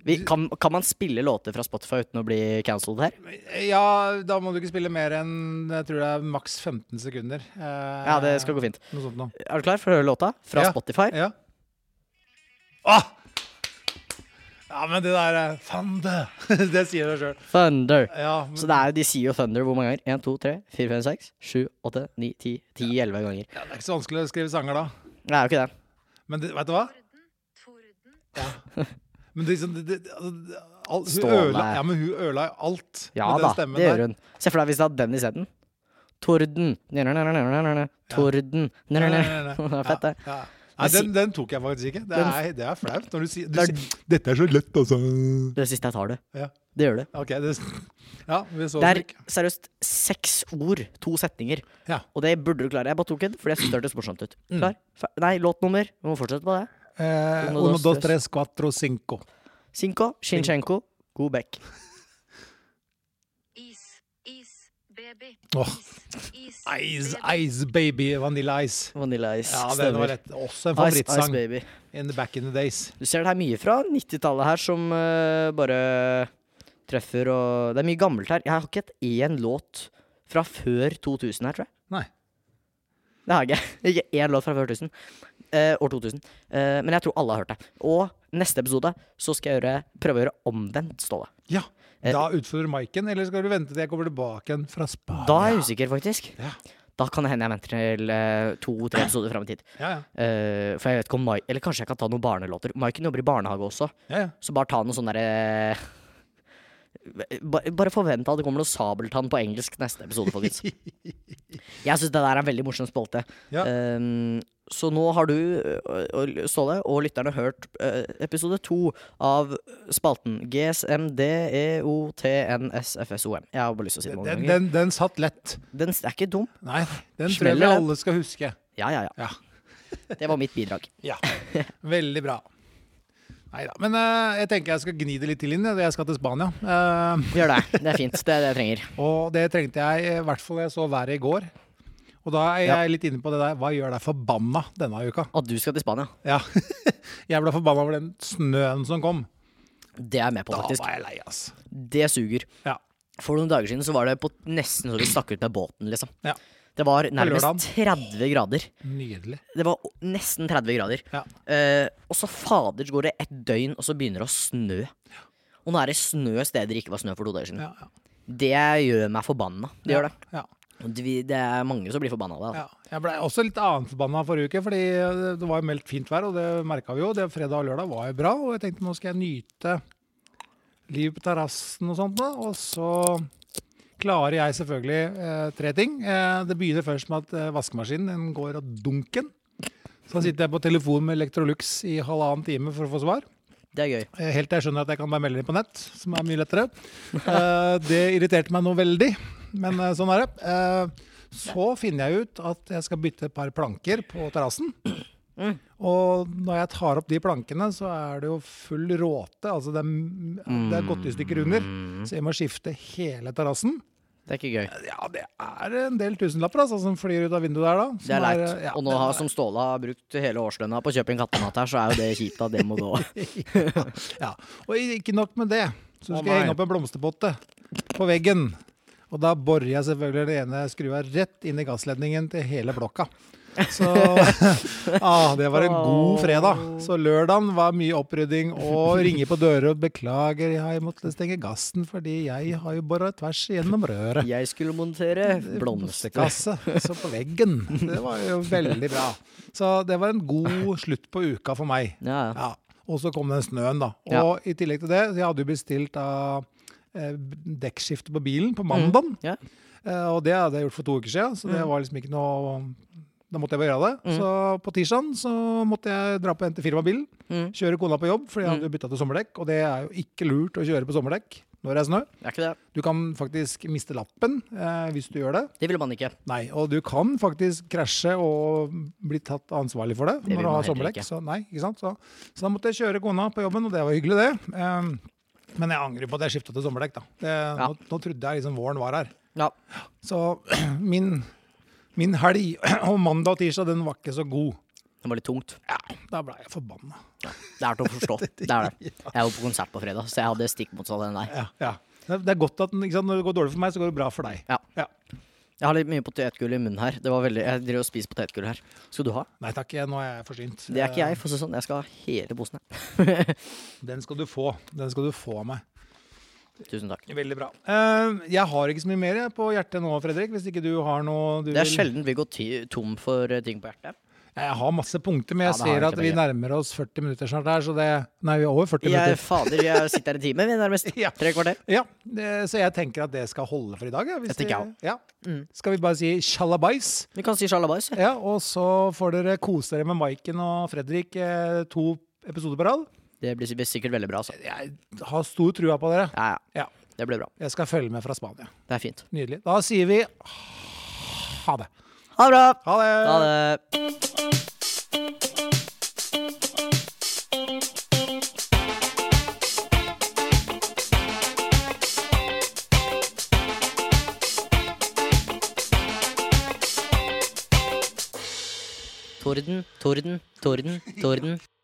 [SPEAKER 1] Vi- Kan, kan man spille låter fra Spotify uten å bli cancelled her?
[SPEAKER 2] Ja, da må du ikke spille mer enn jeg tror det er maks 15 sekunder. Eh,
[SPEAKER 1] Ja, det skal gå fint.
[SPEAKER 2] Noe sånt nå.
[SPEAKER 1] Er du klar for å høre låta fra
[SPEAKER 2] Ja.
[SPEAKER 1] Spotify?
[SPEAKER 2] Ja. Ah! Ja, men det der eh, Faen, det! Det sier deg sjøl.
[SPEAKER 1] Thunder.
[SPEAKER 2] Ja, men-
[SPEAKER 1] Så det er, de sier jo Thunder hvor mange ganger? 1, 2, 3, 4, 5, 6, 7, 8, 9, 10, 10, 11 ganger.
[SPEAKER 2] ja, det er ikke så vanskelig å skrive sanger da.
[SPEAKER 1] Det er jo ikke det.
[SPEAKER 2] Men det, vet du hva?
[SPEAKER 3] Torden, torden.
[SPEAKER 2] Men det, liksom, det, det, altså, det- all, hun,
[SPEAKER 1] Ståle.
[SPEAKER 2] ødela, ja, men hun ødela jo alt
[SPEAKER 1] Ja
[SPEAKER 2] med
[SPEAKER 1] da,
[SPEAKER 2] den stemmen
[SPEAKER 1] det gjør
[SPEAKER 2] der.
[SPEAKER 1] hun. Se for deg hvis du hadde den isteden. Torden. Nja-nja-nja-nja-nja-nja. Torden.
[SPEAKER 2] Nei, nei, nei,
[SPEAKER 1] Nja-nja-nja.
[SPEAKER 2] nei.
[SPEAKER 1] Det er fett, det.
[SPEAKER 2] Ja, ja. Nei,
[SPEAKER 1] Men si-
[SPEAKER 2] den, den tok jeg faktisk ikke. Det
[SPEAKER 1] Den-
[SPEAKER 2] er, det er flaut. Når du sier, du
[SPEAKER 1] Det er-
[SPEAKER 2] sier 'Dette er så lett', altså.
[SPEAKER 1] Det siste jeg tar det.
[SPEAKER 2] Ja.
[SPEAKER 1] Det gjør det.
[SPEAKER 2] OK, det Ja, vi så
[SPEAKER 1] Det
[SPEAKER 2] den
[SPEAKER 1] er
[SPEAKER 2] ikke.
[SPEAKER 1] seriøst seks ord, to setninger.
[SPEAKER 2] Ja. Mm.
[SPEAKER 1] Og det burde du klare. Jeg bare tok en, fordi jeg syntes det hørtes morsomt ut. Klar? Fer- Nei, låtnummer. Vi må fortsette på det.
[SPEAKER 2] Eh,
[SPEAKER 1] Uno,
[SPEAKER 2] uno,
[SPEAKER 1] dos,
[SPEAKER 2] dos,
[SPEAKER 1] tres.
[SPEAKER 2] tres, cuatro, cinco.
[SPEAKER 1] Sinko, Shinshenko, Gobek.
[SPEAKER 3] Is, is, baby.
[SPEAKER 2] Åh.
[SPEAKER 3] Is, is,
[SPEAKER 2] Ice,
[SPEAKER 3] baby.
[SPEAKER 2] ice baby, Vanilla Ice.
[SPEAKER 1] Vanilla Ice.
[SPEAKER 2] Ja, den var
[SPEAKER 1] Stemmer.
[SPEAKER 2] rett. Også en
[SPEAKER 1] Ice, ice
[SPEAKER 2] favorittsang
[SPEAKER 1] Baby.
[SPEAKER 2] in the back in the days.
[SPEAKER 1] Du ser det her mye fra 90-tallet her som eh, bare treffer og Det er mye gammelt her. Jeg har ikke hatt én låt fra før 2000 her, tror jeg.
[SPEAKER 2] Nei.
[SPEAKER 1] Det har jeg ikke. Ikke én låt fra før 2000. Eh, år 2000. Eh, men jeg tror alle har hørt det. Og neste episode så skal jeg gjøre, prøve å gjøre omvendt, Ståle.
[SPEAKER 2] Ja,
[SPEAKER 1] Eh,
[SPEAKER 2] da utfordrer du Maiken, eller skal du vente til jeg kommer tilbake igjen fra Spania?
[SPEAKER 1] Da er jeg usikker, faktisk.
[SPEAKER 2] Ja.
[SPEAKER 1] Da kan det hende jeg venter til eh, to-tre episoder fram i tid.
[SPEAKER 2] Ja, ja.
[SPEAKER 1] Eh, for jeg vet ikke om Mai Eller kanskje jeg kan ta noen barnelåter. Maiken jobber i barnehage også.
[SPEAKER 2] ja, ja.
[SPEAKER 1] Så bare ta noe sånn derre Bare eh, bare forvent at det kommer noe Sabeltann på engelsk neste episode, folkens. Jeg syns det der er en veldig morsom spalte.
[SPEAKER 2] Ja.
[SPEAKER 1] Ehm, så nå har du, ø, ø, Ståle, og lytterne hørt ø, episode to av spalten E GSMDEOTNSFSOM. Jeg har bare lyst til å si det mange
[SPEAKER 2] Den,
[SPEAKER 1] ganger.
[SPEAKER 2] den, den satt lett.
[SPEAKER 1] Den er ikke dum.
[SPEAKER 2] Nei, den tror jeg vi
[SPEAKER 1] Smeller den.
[SPEAKER 2] alle skal huske.
[SPEAKER 1] Ja, ja, ja.
[SPEAKER 2] Ja.
[SPEAKER 1] Det var mitt bidrag.
[SPEAKER 2] ja. Veldig bra. Nei da. Men eh, jeg tenker jeg skal gni det litt til inn. jeg. Jeg skal til Spania. Eh,
[SPEAKER 1] Gjør det. Det er fint. Det er det jeg trenger.
[SPEAKER 2] og det trengte jeg, i hvert fall da jeg så været i går. Og da er jeg litt inne på det der Hva gjør deg forbanna denne uka?
[SPEAKER 1] At du skal til Spania,
[SPEAKER 2] Ja. Jeg ble forbanna over den snøen som kom.
[SPEAKER 1] det er jeg med på,
[SPEAKER 2] Da
[SPEAKER 1] faktisk.
[SPEAKER 2] var jeg lei, ass.
[SPEAKER 1] Det suger.
[SPEAKER 2] Ja.
[SPEAKER 1] For noen dager siden så var det på nesten så vi stakk ut med båten, liksom.
[SPEAKER 2] Ja.
[SPEAKER 1] Det var nærmest
[SPEAKER 2] lørdagen.
[SPEAKER 1] 30 grader.
[SPEAKER 2] Nydelig.
[SPEAKER 1] Det var o- nesten 30 grader.
[SPEAKER 2] Ja.
[SPEAKER 1] Eh, og så fader så går det ett døgn, og så begynner det å snø. Og nå er det snø steder det ikke var snø for to dager siden.
[SPEAKER 2] Ja, ja.
[SPEAKER 1] Det gjør meg forbanna. Det gjør det.
[SPEAKER 2] Ja,
[SPEAKER 1] Og det vi- det er mange som blir forbanna av det. Altså.
[SPEAKER 2] ja. Jeg ble også litt annet forbanna forrige uke, fordi eh, det var meldt fint vær, og det merka vi jo. Det Fredag og lørdag var jo bra, og jeg tenkte nå skal jeg nyte livet på terrassen og sånt. Da. Og så klarer jeg selvfølgelig eh, tre ting. Eh, det begynner først med at eh, vaskemaskinen den går av dunken. Så sitter jeg på telefon med Electrolux i halvannen time for å få svar.
[SPEAKER 1] Det er gøy.
[SPEAKER 2] Eh, Helt til jeg skjønner at jeg kan bare melde inn på nett, som er mye lettere. Eh, det irriterte meg noe veldig, men eh, sånn er det. Eh, så finner jeg ut at jeg skal bytte et par planker på terrassen. Og når jeg tar opp de plankene, så er det jo full råte. Altså det er, det er gått i stykker under. Så jeg må skifte hele terrassen.
[SPEAKER 1] Det er ikke gøy.
[SPEAKER 2] Ja, det er en del tusenlapper altså, som flyr ut av vinduet der, da. Som
[SPEAKER 1] Det er leit.
[SPEAKER 2] eh, ja,
[SPEAKER 1] og nå
[SPEAKER 2] det
[SPEAKER 1] har,
[SPEAKER 2] er-
[SPEAKER 1] som Ståle har brukt hele årslønna på å kjøpe en kattemat her, så er jo det kjipt at det må gå.
[SPEAKER 2] Ja, og ikke nok med det. Så
[SPEAKER 1] Å,
[SPEAKER 2] skal jeg
[SPEAKER 1] nei.
[SPEAKER 2] henge opp en blomsterpotte på veggen. Og da borer jeg selvfølgelig den ene skrua rett inn i gassledningen til hele blokka. Så ah, det var en god fredag. Så lørdagen var mye opprydding og ringe på dører og beklager, jeg måtte stenge gassen fordi jeg har jo bora tvers igjennom røret.
[SPEAKER 1] Jeg skulle montere blomsterkast.
[SPEAKER 2] Blomsterkasse. Så på veggen. Det var jo veldig bra. Så det var en god slutt på uka for meg.
[SPEAKER 1] Ja, ja.
[SPEAKER 2] Ja. Og så kom den snøen, da.
[SPEAKER 1] Ja.
[SPEAKER 2] Og i tillegg til det, så jeg hadde jo bestilt av dekkskifte på bilen på mandag. eh,
[SPEAKER 1] ja.
[SPEAKER 2] Og det hadde jeg gjort for to uker siden, så
[SPEAKER 1] Mm.
[SPEAKER 2] det var liksom ikke noe Da måtte jeg bare gjøre det. Så på tirsdagen så måtte jeg dra på og hente firmabilen.
[SPEAKER 1] Mm.
[SPEAKER 2] Kjøre kona på jobb, fordi jeg hadde jo bytta til sommerdekk. Og det er jo ikke lurt å kjøre på sommerdekk når det er snø.
[SPEAKER 1] Det er ikke det.
[SPEAKER 2] Du kan faktisk miste lappen eh, hvis du gjør det.
[SPEAKER 1] Det ville man ikke.
[SPEAKER 2] Nei, og du kan faktisk krasje og bli tatt ansvarlig for det.
[SPEAKER 1] Det vil
[SPEAKER 2] når du
[SPEAKER 1] man
[SPEAKER 2] har
[SPEAKER 1] heller
[SPEAKER 2] sommerdekk.
[SPEAKER 1] ikke.
[SPEAKER 2] Så, nei, ikke sant? Så, så da måtte jeg kjøre kona på jobben, og det var hyggelig, det. Ehm, men jeg angrer på at jeg skifta til sommerdekk. da. Det, nå, nå trodde jeg liksom våren var her.
[SPEAKER 1] Ja.
[SPEAKER 2] Så min, min helg og mandag og tirsdag den var ikke så god.
[SPEAKER 1] Det var litt tungt.
[SPEAKER 2] Ja, Da blei jeg forbanna.
[SPEAKER 1] Det er til å forstå. Det er det. Jeg var på konsert på fredag, så jeg hadde stikk motsatt av den der.
[SPEAKER 2] Ja, ja. Det det er godt at den- ikke sant? når det går dårlig for meg, så går det bra for deg.
[SPEAKER 1] Ja.
[SPEAKER 2] Ja.
[SPEAKER 1] Jeg har litt mye potetgull i munnen her. Det var veldig, jeg driver og spiser potetgull her. Skal du ha?
[SPEAKER 2] Nei takk, jeg, nå er jeg forsynt.
[SPEAKER 1] Det er ikke jeg, for å si det sånn. Jeg skal ha hele posen. her.
[SPEAKER 2] Den skal du få. Den skal du få av meg.
[SPEAKER 1] Tusen takk.
[SPEAKER 2] Veldig bra. Eh, jeg har ikke så mye mer jeg, på hjertet nå, Fredrik. Hvis ikke du har noe du
[SPEAKER 1] Det er
[SPEAKER 2] vil-
[SPEAKER 1] sjelden vi går ty tom for eh, ting på hjertet.
[SPEAKER 2] Jeg har masse punkter, men jeg
[SPEAKER 1] Ja, det har
[SPEAKER 2] ser
[SPEAKER 1] jeg
[SPEAKER 2] at
[SPEAKER 1] ikke
[SPEAKER 2] vi
[SPEAKER 1] mye.
[SPEAKER 2] nærmer oss 40 minutter snart her, så det Nei, vi er over 40
[SPEAKER 1] Jeg,
[SPEAKER 2] minutter.
[SPEAKER 1] fader, jeg sitter her i time, vi, nærmest.
[SPEAKER 2] Ja.
[SPEAKER 1] Tre kvarter.
[SPEAKER 2] Ja, det, så jeg tenker at det skal holde for i dag. ja, Hvis
[SPEAKER 1] Det tenker jeg Mm.
[SPEAKER 2] det- ja. Skal vi bare si sjalabais?
[SPEAKER 1] Vi kan si sjalabais. ja.
[SPEAKER 2] Ja, og så får dere kose dere med Maiken og Fredrik eh, to episoder på rad.
[SPEAKER 1] Det blir sik- sikkert veldig bra. Altså.
[SPEAKER 2] Jeg har stor trua på dere.
[SPEAKER 1] Ja, ja.
[SPEAKER 2] Ja,
[SPEAKER 1] Det blir bra.
[SPEAKER 2] Jeg skal følge med fra Spania.
[SPEAKER 1] Det er fint.
[SPEAKER 2] Nydelig. Da sier vi ha det.
[SPEAKER 1] Ha det bra!
[SPEAKER 2] Ha det!
[SPEAKER 1] Ha det. Torden, torden, torden, torden.